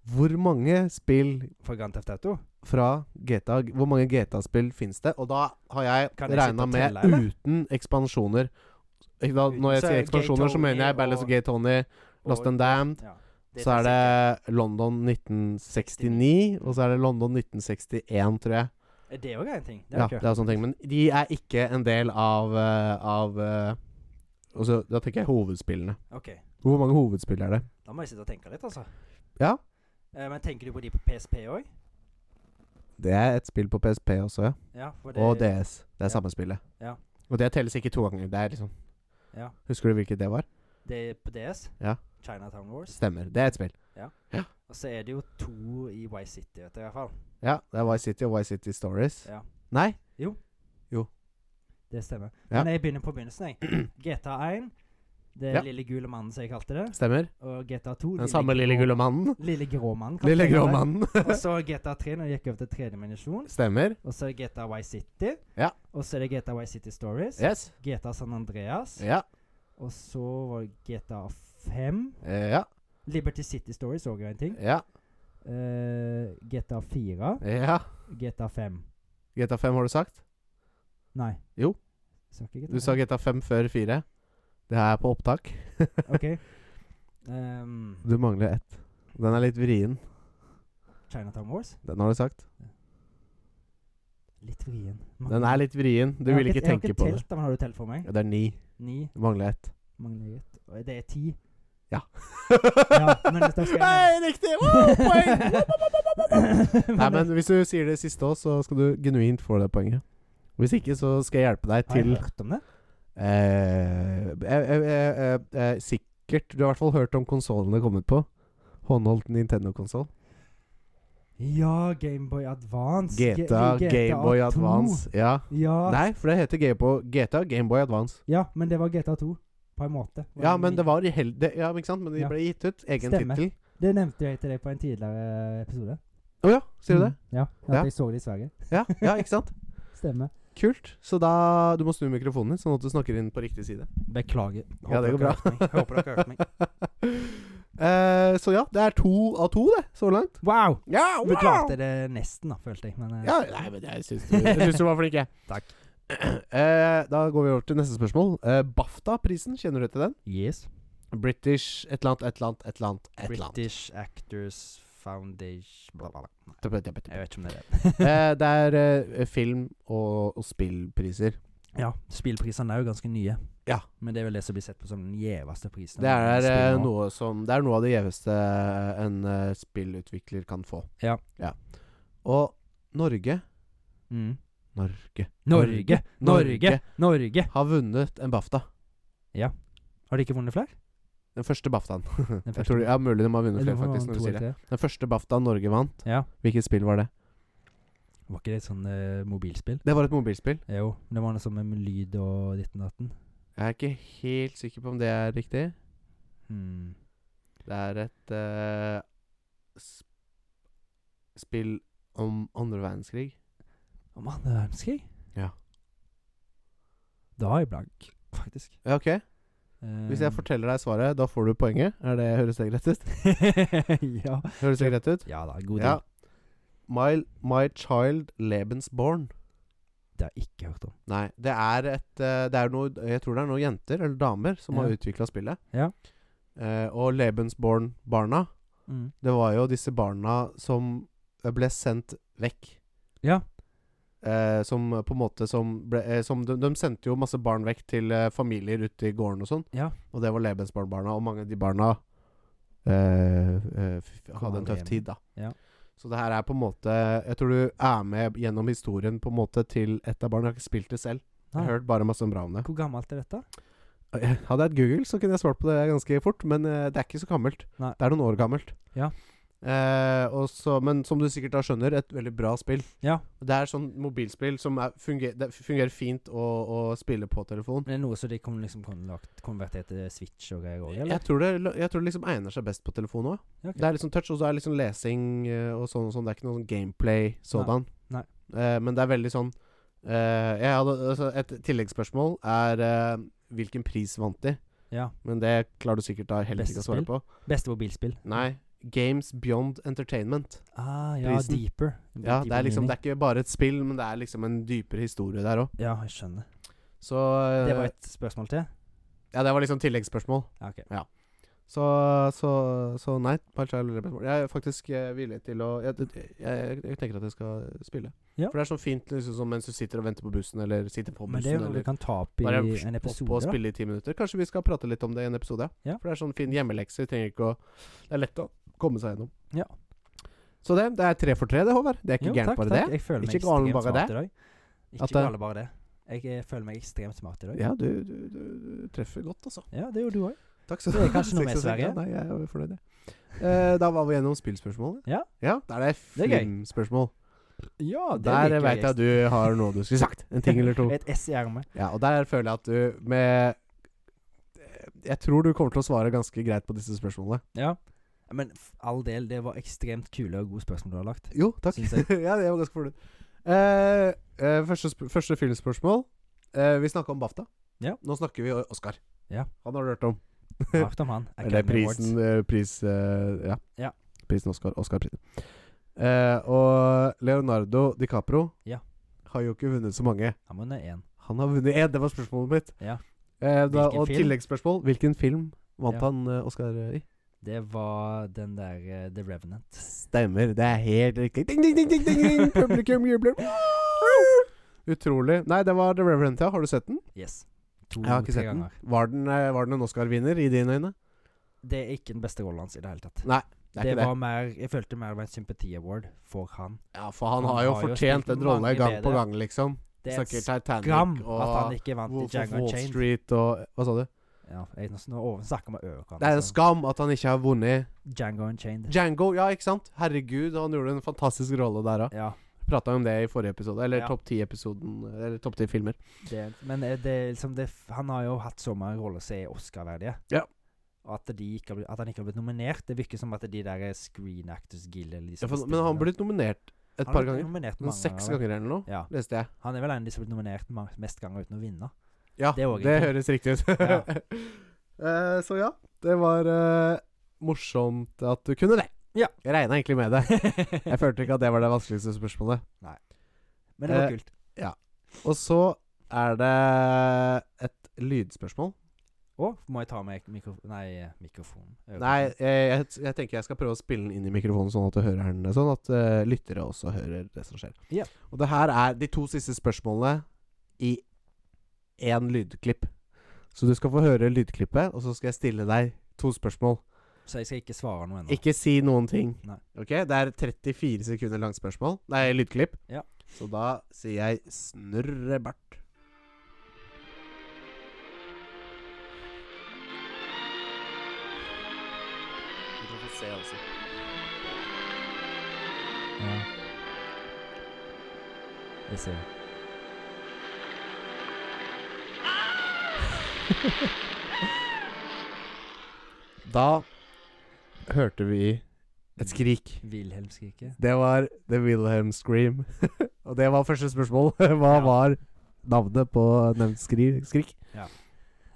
Speaker 2: Hvor mange spill
Speaker 1: For Grand Theft Auto?
Speaker 2: fra GTA Hvor mange GTA-spill finnes det? Og da har jeg
Speaker 1: Kan jeg sitte
Speaker 2: regna
Speaker 1: og
Speaker 2: med
Speaker 1: telle, eller?
Speaker 2: uten ekspansjoner. Ikke Da,
Speaker 1: Uten-
Speaker 2: når jeg
Speaker 1: så
Speaker 2: sier
Speaker 1: Gay
Speaker 2: ekspansjoner, så
Speaker 1: Tony
Speaker 2: mener jeg Ballas
Speaker 1: og-
Speaker 2: Gay Tony, Lost and Damned.
Speaker 1: Ja.
Speaker 2: Så er det London 1969, og så er det London 1961, tror jeg.
Speaker 1: Er Eh, Det òg er en ting. Det er
Speaker 2: Ja,
Speaker 1: ikke-
Speaker 2: det er sånne ting. Men de er ikke en del av, eh, av eh, altså, Da tenker jeg hovedspillene.
Speaker 1: Ok,
Speaker 2: Hvor mange hovedspill er det?
Speaker 1: da må jeg sitte og tenke litt, altså.
Speaker 2: Ja.
Speaker 1: Eh, men tenker du på de på PSP òg?
Speaker 2: Det er et spill på PSP også, ja.
Speaker 1: Ja, for det,
Speaker 2: Og DS. Det
Speaker 1: ja.
Speaker 2: er samme spillet.
Speaker 1: Ja.
Speaker 2: Og det telles ikke to ganger. Det er liksom
Speaker 1: Ja.
Speaker 2: Husker du hvilket det var?
Speaker 1: det er på DS.
Speaker 2: Ja.
Speaker 1: Chinatown Wars.
Speaker 2: Stemmer. Det er et spill.
Speaker 1: Og så er det jo to i Vice City, vet du, i hvert fall.
Speaker 2: Ja, det er Vice City og Vice City Stories.
Speaker 1: Ja.
Speaker 2: Nei?
Speaker 1: Det stemmer.
Speaker 2: Ja.
Speaker 1: Men jeg begynner på begynnelsen,
Speaker 2: [clears throat]
Speaker 1: jeg. GTA1. Det
Speaker 2: Ja.
Speaker 1: lille gule mannen, som jeg kalte det.
Speaker 2: Stemmer.
Speaker 1: Og GTA2.
Speaker 2: Den samme lille
Speaker 1: grå-
Speaker 2: gulle mannen.
Speaker 1: Lille grå mannen. kalte
Speaker 2: [laughs] Lille
Speaker 1: jeg det.
Speaker 2: grå mannen.
Speaker 1: Og så GTA3, når det gikk over til tredje dimensjon.
Speaker 2: Stemmer.
Speaker 1: Og så er det GTA Vice City.
Speaker 2: Ja.
Speaker 1: Og så er det GTA Vice City Stories.
Speaker 2: Yes.
Speaker 1: GTA San Andreas.
Speaker 2: Ja.
Speaker 1: Og så var det GTA 5.
Speaker 2: Ja.
Speaker 1: Liberty City Stories så jeg en ting.
Speaker 2: Ja.
Speaker 1: Eh, GTA 4.
Speaker 2: ja.
Speaker 1: GTA 5.
Speaker 2: GTA 5 har du sagt?
Speaker 1: Nei.
Speaker 2: Jo.
Speaker 1: Sa ikke GTA
Speaker 2: Du sa
Speaker 1: 5.
Speaker 2: GTA 5 før 4. Det her er på opptak.
Speaker 1: Ok. Ehm,
Speaker 2: Du mangler ett. Den er litt vrien.
Speaker 1: Chinatown Wars.
Speaker 2: Den har du sagt.
Speaker 1: Litt vrien.
Speaker 2: Den er litt vrien. Du
Speaker 1: Jeg har
Speaker 2: vil ikke tenke på
Speaker 1: Jeg har ikke
Speaker 2: det.
Speaker 1: telt, da, men har du telt for meg?
Speaker 2: Ja, det er ni.
Speaker 1: Ni.
Speaker 2: Du mangler
Speaker 1: [laughs]
Speaker 2: ett.
Speaker 1: Mangler jeg ett. Og Det er ti.
Speaker 2: ja,
Speaker 1: men da skal jeg-
Speaker 2: Hei, riktig! Wow,
Speaker 1: [laughs]
Speaker 2: poeng! Nei, men hvis du sier det siste òg, så skal du genuint få det poenget. Hvis ikke, så skal jeg hjelpe deg
Speaker 1: Har jeg
Speaker 2: til
Speaker 1: hørt om det?
Speaker 2: eh, eh, eh, eh, eh, Sikkert Du har i hvert fall hørt om konsollen det kommet på. Håndholdt Nintendo-konsoll.
Speaker 1: Ja, Gameboy Advance. G-
Speaker 2: GTA, Gameboy
Speaker 1: 2.
Speaker 2: Advance. Ja.
Speaker 1: Ja.
Speaker 2: Nei, for det heter Gameboy- GTA Gameboy Advance.
Speaker 1: ja, men det var GTA 2. På en måte. Var
Speaker 2: Ja,
Speaker 1: en
Speaker 2: men
Speaker 1: ny-
Speaker 2: det var i hel... Det, ja, men ikke sant? Men de
Speaker 1: Ja.
Speaker 2: ble gitt ut. Egen
Speaker 1: Stemmer.
Speaker 2: tittel.
Speaker 1: Det nevnte jeg til deg på en tidligere eh, episode.
Speaker 2: Å ja, sier du det?
Speaker 1: Mm, Ja, at
Speaker 2: Ja.
Speaker 1: jeg så det i Sverige.
Speaker 2: Ja, ja, ikke [laughs] sant?
Speaker 1: Stemmer.
Speaker 2: Kult. Så da Du må snu mikrofonen din, sånn at du snakker inn på riktig [laughs] side.
Speaker 1: Beklager.
Speaker 2: Ja, det går bra.
Speaker 1: Håper dere hørte meg.
Speaker 2: [laughs] Eh, så ja, det er to av to, det, så langt.
Speaker 1: [laughs] Wow!
Speaker 2: Ja,
Speaker 1: Du klarte det nesten, da, følte jeg. Men eh,
Speaker 2: Ja, nei, men jeg syns du, jeg syns du var flink, [laughs] jeg.
Speaker 1: Takk.
Speaker 2: [clears throat] Eh, da går vi over til neste spørsmål. Eh, BAFTA-prisen, kjenner du til den?
Speaker 1: yes.
Speaker 2: British et eller annet, et eller annet, et eller annet. Et eller annet.
Speaker 1: British Actors Foundation bla, bla, bla. Jeg vet ikke om det er det.
Speaker 2: [laughs] Eh, det er eh, film- og, og spillpriser.
Speaker 1: Ja, spillprisene er jo ganske nye.
Speaker 2: Ja.
Speaker 1: Men det er vel det som blir sett på som den gjeveste prisen.
Speaker 2: Det er, eh,
Speaker 1: Spill nå.
Speaker 2: noe som, det er noe av det gjeveste en eh, spillutvikler kan få.
Speaker 1: Ja.
Speaker 2: Og Norge
Speaker 1: Mm.
Speaker 2: Norge.
Speaker 1: Norge, Norge, Norge.
Speaker 2: har vunnet en BAFTA.
Speaker 1: Har de ikke vunnet flere?
Speaker 2: Den første BAFTA-en.
Speaker 1: [laughs] Den
Speaker 2: Hm, Jeg tror de, ja, mulig de har vunnet
Speaker 1: Eller
Speaker 2: flere,
Speaker 1: var
Speaker 2: faktisk.
Speaker 1: det
Speaker 2: når du
Speaker 1: to
Speaker 2: sier
Speaker 1: eller
Speaker 2: det.
Speaker 1: tre?
Speaker 2: Den første BAFTA Norge vant,
Speaker 1: Ja.
Speaker 2: hvilket spill var det?
Speaker 1: Var ikke det et sånn eh, mobilspill?
Speaker 2: Det var et mobilspill.
Speaker 1: Jo, men det var noe sånn med lyd og ditten og datten.
Speaker 2: Jeg er ikke helt sikker på om det er riktig.
Speaker 1: Hmm.
Speaker 2: Det er et eh, sp spill om andre verdenskrig.
Speaker 1: Om andre verdenskrig?
Speaker 2: Ja.
Speaker 1: Da er jeg blank, faktisk.
Speaker 2: Ja, ok. Hvis jeg
Speaker 1: Eh,
Speaker 2: forteller deg svaret, da får du poenget. Er det Høres det greit ut?
Speaker 1: [laughs] ja.
Speaker 2: Høres det greit ut?
Speaker 1: ja da, god
Speaker 2: Ja.
Speaker 1: deal.
Speaker 2: My, my Child Lebensborn.
Speaker 1: Det har jeg ikke hørt om.
Speaker 2: Nei, det er et eh, Det er noe Jeg tror det er noen jenter, eller damer, som
Speaker 1: Ja.
Speaker 2: har utvikla spillet.
Speaker 1: Ja.
Speaker 2: Eh, og Lebensborn-barna, det var jo disse barna som eh, ble sendt vekk.
Speaker 1: Ja.
Speaker 2: Eh, som på en måte som ble eh, som de, de sendte jo masse barn vekk til eh, familier ute i gården og sånn.
Speaker 1: Ja.
Speaker 2: Og det var Lebensborn-barna, og mange av de barna eh, eh, f- hadde en
Speaker 1: aldri
Speaker 2: tøff
Speaker 1: hjem.
Speaker 2: tid, da.
Speaker 1: Ja.
Speaker 2: Så det her er på en måte Jeg tror du er med gjennom historien på en måte til et av barna. Jeg har ikke spilt det selv. Jeg
Speaker 1: Nei.
Speaker 2: har hørt bare masse bra om det.
Speaker 1: Hvor gammelt er dette?
Speaker 2: [laughs] Hadde jeg hatt Google, så kunne jeg svart på det ganske fort, men eh, det er ikke så gammelt.
Speaker 1: Nei.
Speaker 2: Det er noen år gammelt.
Speaker 1: Ja.
Speaker 2: Eh, og så, men som du sikkert da skjønner, et veldig bra spill.
Speaker 1: Ja.
Speaker 2: Det er sånn mobilspill som er, funger, det fungerer fint å, å spille på telefon.
Speaker 1: Men det er noe som de kunne liksom kunne lagt, konvertert til Switch og greier òg, eller?
Speaker 2: Jeg tror, det, jeg tror det liksom egner seg best på telefon òg.
Speaker 1: Ja, ok.
Speaker 2: Det er liksom touch, og så er det liksom lesing eh, og sånn og sånn. Det er ikke noe sånn gameplay sådan.
Speaker 1: Nei.
Speaker 2: Eh, men det er veldig sånn eh, jeg hadde, altså Et tilleggsspørsmål er eh, hvilken pris vant de?
Speaker 1: Ja.
Speaker 2: Men det klarer du sikkert da heller
Speaker 1: Beste
Speaker 2: ikke å svare
Speaker 1: spill?
Speaker 2: på.
Speaker 1: Beste mobilspill.
Speaker 2: Nei. Games Beyond Entertainment.
Speaker 1: Ah, ja,
Speaker 2: Prisen.
Speaker 1: deeper.
Speaker 2: Ja, det
Speaker 1: Deeper
Speaker 2: er liksom
Speaker 1: meaning.
Speaker 2: Det er ikke bare et spill, men det er liksom en dypere historie der òg.
Speaker 1: Ja, jeg skjønner.
Speaker 2: Så eh,
Speaker 1: Det var et spørsmål til?
Speaker 2: Ja, det var liksom tilleggsspørsmål.
Speaker 1: Ja, ok.
Speaker 2: Så, så, så nei. bare kjær lille spørsmål. Jeg er faktisk eh, villig til å jeg, jeg, jeg, jeg tenker at jeg skal spille.
Speaker 1: Ja.
Speaker 2: For det er sånn fint liksom, sånn mens du sitter og venter på bussen, eller sitter på
Speaker 1: Men det er
Speaker 2: bussen,
Speaker 1: jo noe
Speaker 2: eller
Speaker 1: vi kan ta opp i
Speaker 2: bare
Speaker 1: en
Speaker 2: opp og
Speaker 1: episode, da.
Speaker 2: spille i ti minutter. Kanskje vi skal prate litt om det i en episode.
Speaker 1: Ja.
Speaker 2: For det er sånn fin hjemmelekse. Vi trenger ikke å Det er lett å komme seg gjennom.
Speaker 1: Ja.
Speaker 2: Så det, det er tre for tre, det, Håvard. Det er ikke
Speaker 1: Jo,
Speaker 2: gærent
Speaker 1: takk,
Speaker 2: bare
Speaker 1: takk.
Speaker 2: det.
Speaker 1: Jeg føler meg
Speaker 2: Ikke galen
Speaker 1: ekstremt
Speaker 2: bare
Speaker 1: smart
Speaker 2: det.
Speaker 1: i dag.
Speaker 2: At
Speaker 1: Ikke
Speaker 2: det-
Speaker 1: gale bare det. Jeg eh, føler meg ekstremt smart i dag.
Speaker 2: Ja, du, du, du, du treffer godt, altså.
Speaker 1: Ja, det gjorde du òg.
Speaker 2: Takk skal
Speaker 1: Det er kanskje noe med
Speaker 2: Seks av seks,
Speaker 1: Sverige.
Speaker 2: ja. Nei, jeg er jo fornøyd, jeg. Eh, da var vi gjennom spillspørsmålet.
Speaker 1: Ja.
Speaker 2: ja. Da er det
Speaker 1: Det er gøy.
Speaker 2: filmspørsmål.
Speaker 1: Ja,
Speaker 2: Der veit jeg at du har noe du skulle sagt. En ting eller to.
Speaker 1: [laughs] Et S i ermet.
Speaker 2: Ja, og der føler jeg at du med Jeg tror du kommer til å svare ganske greit på disse spørsmålene.
Speaker 1: Ja. Men f- all del, det var ekstremt kule og gode spørsmål du har
Speaker 2: [laughs]
Speaker 1: lagt.
Speaker 2: Jo, takk.
Speaker 1: Syns jeg.
Speaker 2: ja, jeg var ganske fornøyd. Eh, eh, første, sp første filmspørsmål. Eh, vi snakka om BAFTA.
Speaker 1: Ja.
Speaker 2: Nå snakker vi om Oscar.
Speaker 1: Ja.
Speaker 2: Han har du hørt om.
Speaker 1: Hardt om han.
Speaker 2: Eller
Speaker 1: Academy
Speaker 2: prisen
Speaker 1: Awards.
Speaker 2: eh, Pris eh, ja.
Speaker 1: Ja.
Speaker 2: Prisen Oscar. Oscar-prisen. Eh, og Leonardo DiCapro
Speaker 1: Ja.
Speaker 2: har jo ikke vunnet så mange.
Speaker 1: Han vant én.
Speaker 2: Han har vunnet én, det var spørsmålet mitt.
Speaker 1: Ja.
Speaker 2: Eh, da,
Speaker 1: Hvilken
Speaker 2: og
Speaker 1: film?
Speaker 2: tilleggsspørsmål. Hvilken film vant
Speaker 1: Ja.
Speaker 2: han eh, Oscar i?
Speaker 1: Det var den der eh, The Revenant.
Speaker 2: Stemmer. Det er helt riktig. Ding, ding, ding, ding, ding, ding. Publikum jubler. Utrolig. Nei, det var The Reverend. Ja. Har du sett den?
Speaker 1: Yes. To,
Speaker 2: Jeg har ikke
Speaker 1: tre
Speaker 2: sett den.
Speaker 1: ganger.
Speaker 2: Var den, eh, var den en Oscar-vinner i dine øyne?
Speaker 1: Det er ikke den beste rollen hans i det hele tatt.
Speaker 2: Nei, det
Speaker 1: Det,
Speaker 2: er ikke
Speaker 1: var
Speaker 2: det.
Speaker 1: mer Jeg følte mer det var en sympati-award for han.
Speaker 2: Ja, for han,
Speaker 1: han
Speaker 2: har jo
Speaker 1: har jo
Speaker 2: fortjent
Speaker 1: spilt
Speaker 2: den rolla
Speaker 1: mange
Speaker 2: gang på
Speaker 1: bedre.
Speaker 2: gang, liksom.
Speaker 1: Det er
Speaker 2: Snakker
Speaker 1: et
Speaker 2: Titanic
Speaker 1: skam at han
Speaker 2: og
Speaker 1: ikke vant i
Speaker 2: Wolf of
Speaker 1: Django
Speaker 2: Wall
Speaker 1: Chain.
Speaker 2: Street og Hva sa du?
Speaker 1: Ja, jeg, nå nå over- snakker vi over
Speaker 2: Det er en skam at han ikke har vunnet
Speaker 1: Django Unchained.
Speaker 2: Django, ja, ikke sant? Herregud, han gjorde en fantastisk rolle der òg.
Speaker 1: Ja,
Speaker 2: Prata om det i forrige episode, eller
Speaker 1: Ja.
Speaker 2: topp ti-episoden, eller topp ti-filmer.
Speaker 1: det, men eh, det, er liksom det, f- han har jo hatt så mange roller som er Oscar-verdige.
Speaker 2: Ja.
Speaker 1: Og at, de ikke har blitt, at han ikke har blitt nominert, det virker som at de der er Screen Actors Guild eller de
Speaker 2: Ja,
Speaker 1: som
Speaker 2: for,
Speaker 1: bestiller
Speaker 2: men han har
Speaker 1: det.
Speaker 2: blitt nominert
Speaker 1: Han
Speaker 2: et
Speaker 1: har
Speaker 2: par
Speaker 1: blitt
Speaker 2: ganger.
Speaker 1: nominert
Speaker 2: Noen
Speaker 1: mange
Speaker 2: sånn seks
Speaker 1: vel?
Speaker 2: ganger eller noe,
Speaker 1: Ja.
Speaker 2: leste jeg.
Speaker 1: Han er vel en av de som har blitt nominert ma- mest ganger uten å
Speaker 2: [laughs]
Speaker 1: vinne.
Speaker 2: Ja,
Speaker 1: Det er
Speaker 2: det,
Speaker 1: også en ting.
Speaker 2: høres riktig ut.
Speaker 1: Ja.
Speaker 2: [laughs] Eh, så ja, det var eh, morsomt at du kunne det.
Speaker 1: Ja.
Speaker 2: Jeg regna egentlig med
Speaker 1: [laughs]
Speaker 2: det. Jeg følte ikke at det var det vanskeligste spørsmålet.
Speaker 1: Men det var
Speaker 2: Eh,
Speaker 1: kult.
Speaker 2: Og så er det et lydspørsmål.
Speaker 1: Å, må jeg ta med mikro... Nei, eh, mikrofonen. Øret.
Speaker 2: Nei, jeg, jeg, jeg tenker jeg skal prøve å spille den inn i mikrofonen, sånn at du hører den. Sånn at eh, lyttere også hører det som skjer.
Speaker 1: Ja.
Speaker 2: Og det her er de to siste spørsmålene i én lydklipp. Så du skal få høre lydklippet, og så skal jeg stille deg to spørsmål.
Speaker 1: Så jeg skal ikke svare noe ennå.
Speaker 2: Ikke si noen ting.
Speaker 1: Nei.
Speaker 2: Ok, Det er 34 sekunder langt spørsmål. Nei, lydklipp.
Speaker 1: Ja.
Speaker 2: Så da sier jeg snurrebart. Du kan få se også.
Speaker 1: Ja. Jeg ser.
Speaker 2: Da hørte vi et skrik.
Speaker 1: Wilhelmskriket.
Speaker 2: Det var The Wilhelm Scream. [laughs] Og det var første spørsmål. [laughs] Hva
Speaker 1: Ja.
Speaker 2: var navnet på nevnt skri skrik?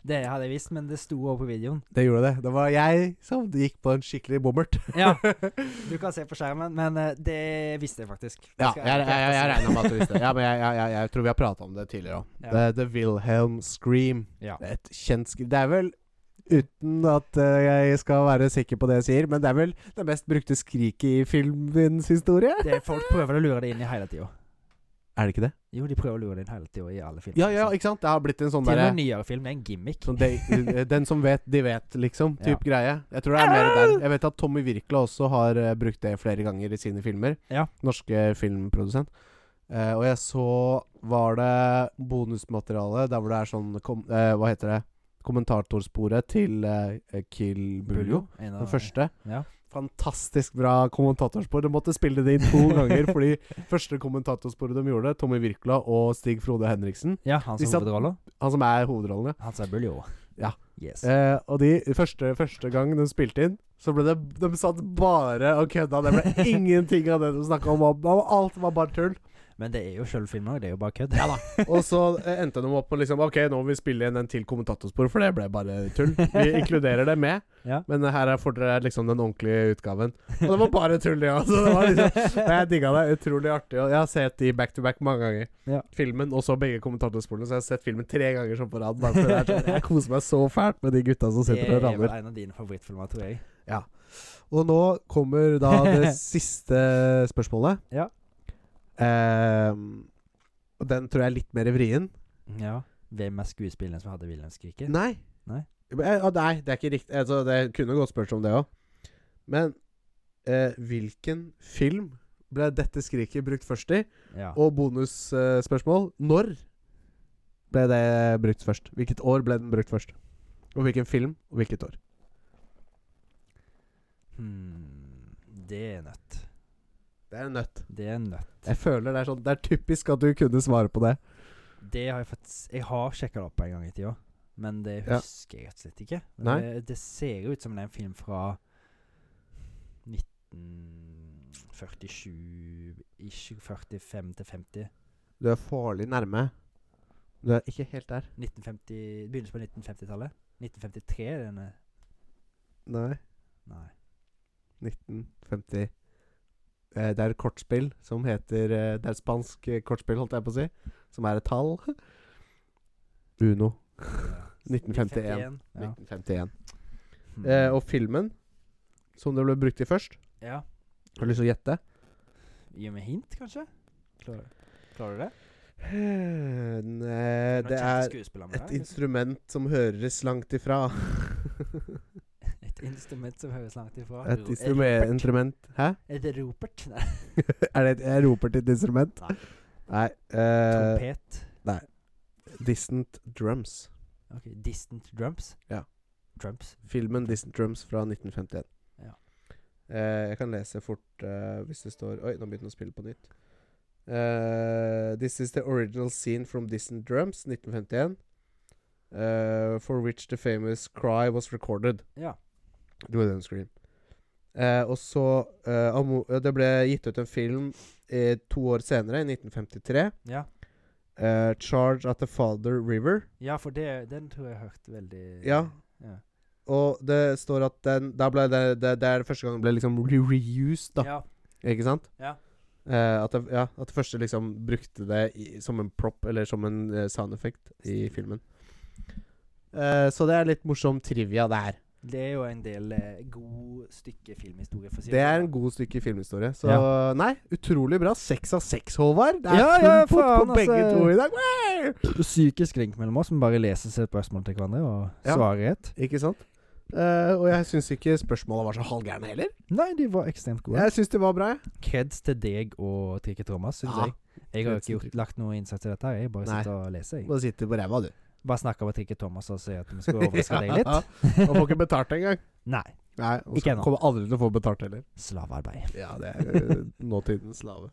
Speaker 1: Det hadde jeg visst, men det sto også på videoen.
Speaker 2: Det gjorde det. Det var jeg som gikk på en skikkelig bommert.
Speaker 1: Ja, [laughs] Du kan se på skjermen, men eh, det visste jeg faktisk. Det
Speaker 2: Ja,
Speaker 1: skal
Speaker 2: jeg, jeg,
Speaker 1: ikke
Speaker 2: jeg, jeg
Speaker 1: si.
Speaker 2: regna med at du visste det. Ja, men jeg, jeg, jeg, jeg tror vi har prata om det tidligere òg.
Speaker 1: Ja.
Speaker 2: The, The Wilhelm Scream.
Speaker 1: Ja.
Speaker 2: Det er Et kjent skri... Det er vel Uten at eh, jeg skal være sikker på det jeg sier, men det er vel det mest brukte skriket i filmens historie?
Speaker 1: Det, folk prøver å lure det inn i hele tida.
Speaker 2: Er det ikke det?
Speaker 1: Jo, de prøver å lure det inn hele tida i alle filmer. liksom.
Speaker 2: Ja, ja, ikke sant? Det har blitt en sånn
Speaker 1: Til og
Speaker 2: derre
Speaker 1: med nyere film. Det er en gimmick.
Speaker 2: sånn de- Den som vet, de vet, liksom.
Speaker 1: Ja.
Speaker 2: Typ greie. Jeg tror det er mer der. Jeg vet at Tommy Wirkola også har eh, brukt det flere ganger i sine filmer.
Speaker 1: Ja.
Speaker 2: Norske filmprodusent. Eh, og jeg så Var det bonusmateriale der hvor det er sånn kom, eh, Hva heter det? Kommentatorsporet til eh, Kill Buljo.
Speaker 1: En av-
Speaker 2: Den første.
Speaker 1: Ja.
Speaker 2: Fantastisk bra kommentatorspor. De måtte spille det inn to
Speaker 1: [laughs]
Speaker 2: ganger, fordi første kommentatorsporet de gjorde, Tommy Wirkola og Stig Frode Henriksen,
Speaker 1: ja, hans
Speaker 2: De satt-
Speaker 1: hovedrolle.
Speaker 2: han som er hovedrollen, ja.
Speaker 1: Han sa Buljo.
Speaker 2: Ja.
Speaker 1: Yes.
Speaker 2: Eh, og de første, første gang de spilte inn, så ble det
Speaker 1: [laughs]
Speaker 2: De satt bare og kødda. Det ble ingenting av det de snakka om. og Alt var bare tull.
Speaker 1: Men det er jo sjøl filmen òg, det er jo bare kødd.
Speaker 2: [laughs] Ja da. Og så eh, endte de opp med liksom Ok, nå må vi spille inn en til kommentatorspor, for det ble bare tull. Vi inkluderer det med,
Speaker 1: Ja.
Speaker 2: men her er- får dere liksom den ordentlige utgaven. Og det var bare tull, ja. Så det var liksom,
Speaker 1: [laughs]
Speaker 2: og jeg digga det. Utrolig artig. Og jeg har sett de back to back mange ganger.
Speaker 1: Ja.
Speaker 2: Filmen og så begge kommentatorsporene. Så jeg har sett filmen tre ganger som på rad. Bare for det er sånn- jeg koser meg så fælt med de gutta som
Speaker 1: Det
Speaker 2: sitter og
Speaker 1: er vel
Speaker 2: raller.
Speaker 1: en av dine favorittfilmer, tror jeg.
Speaker 2: Og nå kommer da
Speaker 1: [laughs]
Speaker 2: det siste spørsmålet.
Speaker 1: Ja.
Speaker 2: Ehm, og den tror jeg er litt mer vrien.
Speaker 1: Ja. Hvem er skuespilleren som hadde Wilhelmskriket?
Speaker 2: Nei.
Speaker 1: Nei.
Speaker 2: Men, eh, ah, nei, det er ikke riktig. Altså, det kunne godt spørs om det òg. Men eh, hvilken film ble dette skriket brukt først i?
Speaker 1: Ja.
Speaker 2: Og bonusspørsmål når ble det brukt først? Hvilket år ble den brukt først? Og hvilken film, og hvilket år?
Speaker 1: Hmm, det er nødt.
Speaker 2: Det er en nøtt.
Speaker 1: Det er nødt.
Speaker 2: Jeg føler det er sånn Det er typisk at du kunne svare på det.
Speaker 1: Det har jeg fått Jeg har sjekka det opp en gang i tida, men det
Speaker 2: Ja.
Speaker 1: husker jeg rett og slett ikke. Men
Speaker 2: Nei.
Speaker 1: Det, det ser jo ut som det er en film fra 1947-ish, 45 til 50.
Speaker 2: Du er farlig nærme. Du er ikke helt der.
Speaker 1: 1950 Begynnelsen på 1950-tallet. 1953 er denne
Speaker 2: Nei. [laughs]
Speaker 1: Nei.
Speaker 2: 1950 eh, Det er et kortspill som heter eh, Det er et spansk eh, kortspill, holdt jeg på å si, som er et tall. [laughs] Uno.
Speaker 1: Ja.
Speaker 2: 1951.
Speaker 1: Ja.
Speaker 2: 1951.
Speaker 1: Hmm.
Speaker 2: Eh, og filmen som det ble brukt i først
Speaker 1: ja.
Speaker 2: Har du lyst til å gjette?
Speaker 1: Gi meg hint, kanskje? Klarer, klarer du det?
Speaker 2: Eh, Nei, Eh, det er et instrument som høres langt [laughs] ifra.
Speaker 1: et instrument som høres langt ifra.
Speaker 2: Et
Speaker 1: Ro-
Speaker 2: instrument, instrument Hæ?
Speaker 1: Et ropert? Nei.
Speaker 2: [laughs] Er det et jeg roper til et instrument?
Speaker 1: Nei.
Speaker 2: Nei. Eh,
Speaker 1: Trompet.
Speaker 2: Distant Drums.
Speaker 1: Ok, Distant drums?
Speaker 2: Ja.
Speaker 1: Drums?
Speaker 2: Filmen 'Distant Drums' fra 1951.
Speaker 1: Ja.
Speaker 2: Eh, jeg kan lese fort eh, hvis det står Oi, nå begynte den å spille på nytt. Eh, this is the original scene from 'Distant Drums' 1951. eh, for which the famous cry was recorded.
Speaker 1: Ja.
Speaker 2: Det var den screen. Eh, og så eh, Amo- eh, Det ble gitt ut en film eh, to år senere, i 1953.
Speaker 1: Ja,
Speaker 2: eh, 'Charge at the Father River'.
Speaker 1: ja for det, den tror jeg har hørt veldig
Speaker 2: Ja.
Speaker 1: Ja,
Speaker 2: Og det står at den Da ble det Det, det er første gang den ble liksom re- reused, da.
Speaker 1: ja.
Speaker 2: Ikke sant?
Speaker 1: Ja.
Speaker 2: Eh, at, det, ja, at det første liksom brukte det i, som en prop, eller som en eh, sound effect i filmen. Eh, så det er litt morsom trivia der.
Speaker 1: Det er jo en del eh, god stykke filmhistorie. For å si
Speaker 2: Det er
Speaker 1: sånn,
Speaker 2: en
Speaker 1: da.
Speaker 2: god stykke filmhistorie. Så nei, utrolig bra. Seks av seks, Håvard. Det er
Speaker 1: Ja,
Speaker 2: full
Speaker 1: ja, faen,
Speaker 2: pott på begge
Speaker 1: altså.
Speaker 2: to i dag. Wow!
Speaker 1: psykisk link mellom oss som bare leser seg spørsmål til hverandre og
Speaker 2: Ja.
Speaker 1: svarer rett.
Speaker 2: Ikke sant? Eh, og jeg syns ikke spørsmåla var så halvgærne heller.
Speaker 1: Nei, de var ekstremt gode.
Speaker 2: Jeg syns de var bra, jeg.
Speaker 1: Kreds til deg og Trikke Thomas, syns
Speaker 2: Ja.
Speaker 1: jeg. Jeg har jo
Speaker 2: Kreds til
Speaker 1: ikke gjort, lagt noe innsats i dette, her jeg bare
Speaker 2: Nei.
Speaker 1: sitter og leser. Jeg.
Speaker 2: Bare Ah, sitter på ræva, du.
Speaker 1: Bare snakker med Trikke Thomas og sier at vi
Speaker 2: [laughs]
Speaker 1: skal overraske deg litt.
Speaker 2: Og får ikke betalt engang.
Speaker 1: [laughs] Nei.
Speaker 2: Nei, og
Speaker 1: Ikke
Speaker 2: så
Speaker 1: ennå.
Speaker 2: kommer aldri til å få betalt heller.
Speaker 1: Slavearbeid.
Speaker 2: Ja, det er [laughs] eh, nåtidens slave.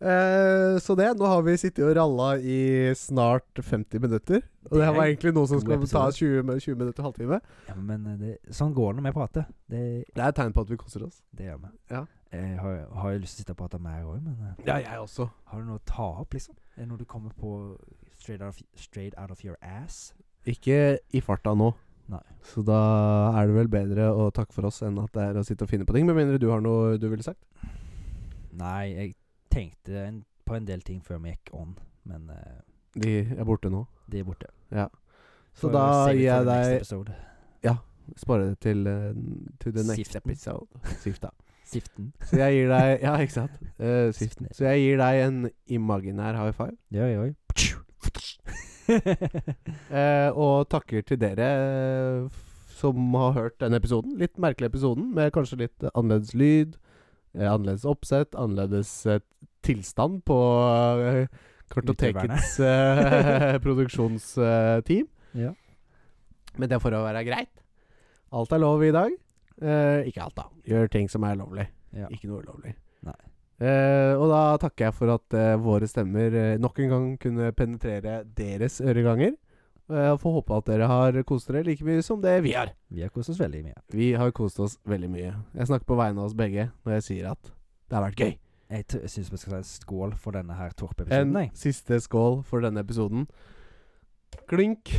Speaker 2: Eh, så det, nå har vi sittet og ralla i snart 50 minutter. Og det her var egentlig noe som
Speaker 1: god
Speaker 2: skulle ta
Speaker 1: episode.
Speaker 2: 20, med- 20 minutter, halvtime.
Speaker 1: Ja, men eh, det, sånn går det når vi prater. Det,
Speaker 2: Det er et tegn på at vi koser oss.
Speaker 1: det gjør vi.
Speaker 2: Ja.
Speaker 1: Jeg har, har jo lyst til å sitte og prate mer òg, men eh,
Speaker 2: Ja, jeg også.
Speaker 1: har du noe å ta opp, liksom? Er det noe du kommer på straight out of, straight out of your ass?
Speaker 2: Ikke i farta nå.
Speaker 1: Nei.
Speaker 2: Så da er det vel bedre å takke for oss enn at det er å sitte og finne på ting. Med mindre du har noe du ville sagt.
Speaker 1: Nei, jeg tenkte en, på en del ting før vi gikk on, men eh,
Speaker 2: De er borte nå.
Speaker 1: de er borte.
Speaker 2: Så
Speaker 1: Får
Speaker 2: da
Speaker 1: save
Speaker 2: gir
Speaker 1: it for
Speaker 2: jeg
Speaker 1: the next
Speaker 2: deg
Speaker 1: episode.
Speaker 2: Spare det til eh, to the next
Speaker 1: Siften.
Speaker 2: episode. Sifta.
Speaker 1: Siften.
Speaker 2: Så jeg gir deg Ja, ikke
Speaker 1: [laughs]
Speaker 2: sant? Eh, siften. Så jeg gir deg en imaginær high five.
Speaker 1: Det gjør
Speaker 2: [laughs]
Speaker 1: jeg òg.
Speaker 2: Eh, og takker til dere eh, f- som har hørt denne episoden. Litt merkelig episoden, med kanskje litt eh, annerledes lyd, eh, annerledes oppsett, annerledes eh, tilstand på eh, Kartotekets eh, [laughs] produksjonsteam.
Speaker 1: Ja.
Speaker 2: Men det får å være greit. Alt er lov i dag. Eh, ikke alt, da. Gjør ting som er lovlig.
Speaker 1: Ja.
Speaker 2: Ikke noe ulovlig.
Speaker 1: Nei.
Speaker 2: Eh, og da takker jeg for at eh, våre stemmer eh, nok en gang kunne penetrere deres øreganger. Eh, Og jeg får håpe at dere har kost dere like mye som det vi har.
Speaker 1: Vi har kost oss veldig mye.
Speaker 2: Vi har kost oss veldig mye. Jeg snakker på vegne av oss begge når jeg sier at det har vært gøy.
Speaker 1: Jeg, tr- jeg syns vi skal ta en skål for denne her
Speaker 2: En
Speaker 1: Torp-episoden. jeg.
Speaker 2: siste skål for denne episoden. Klink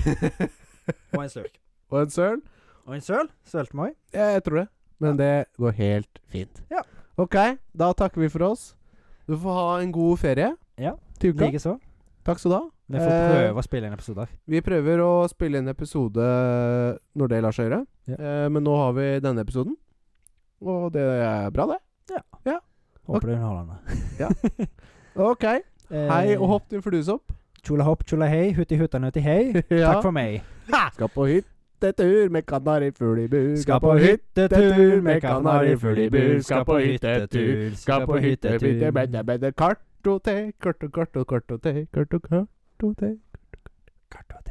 Speaker 2: [laughs]
Speaker 1: Og en slurk.
Speaker 2: og en søl.
Speaker 1: Og en søl. Sølte meg.
Speaker 2: Ja, jeg tror det. Men det går helt fint.
Speaker 1: Ja.
Speaker 2: Ok, da takker vi for oss. Du får ha en god ferie
Speaker 1: Ja,
Speaker 2: til uka.
Speaker 1: Likeså.
Speaker 2: Takk skal du ha.
Speaker 1: Vi får
Speaker 2: Eh,
Speaker 1: prøve å spille inn episoder.
Speaker 2: Vi prøver å spille inn episode når det lar seg gjøre,
Speaker 1: Ja.
Speaker 2: eh, men nå har vi denne episoden. Og det er bra, det.
Speaker 1: Håper det er underholdende.
Speaker 2: Ok. Hei og
Speaker 1: Eh,
Speaker 2: hopp til fluesopp.
Speaker 1: Tjola hopp, tjola hei, hutti hutta nutti hei.
Speaker 2: Ja.
Speaker 1: Takk for meg.
Speaker 2: Skal på hyttetur med kanarifugl i bur.
Speaker 1: Skal på hyttetur med kanarifugl i bur. Skal på hyttetur,
Speaker 2: Skal på hyttetur med det med det kartotek, kartotek, kartotek, kartotek, kartotek, kartotek.
Speaker 1: Kart og te.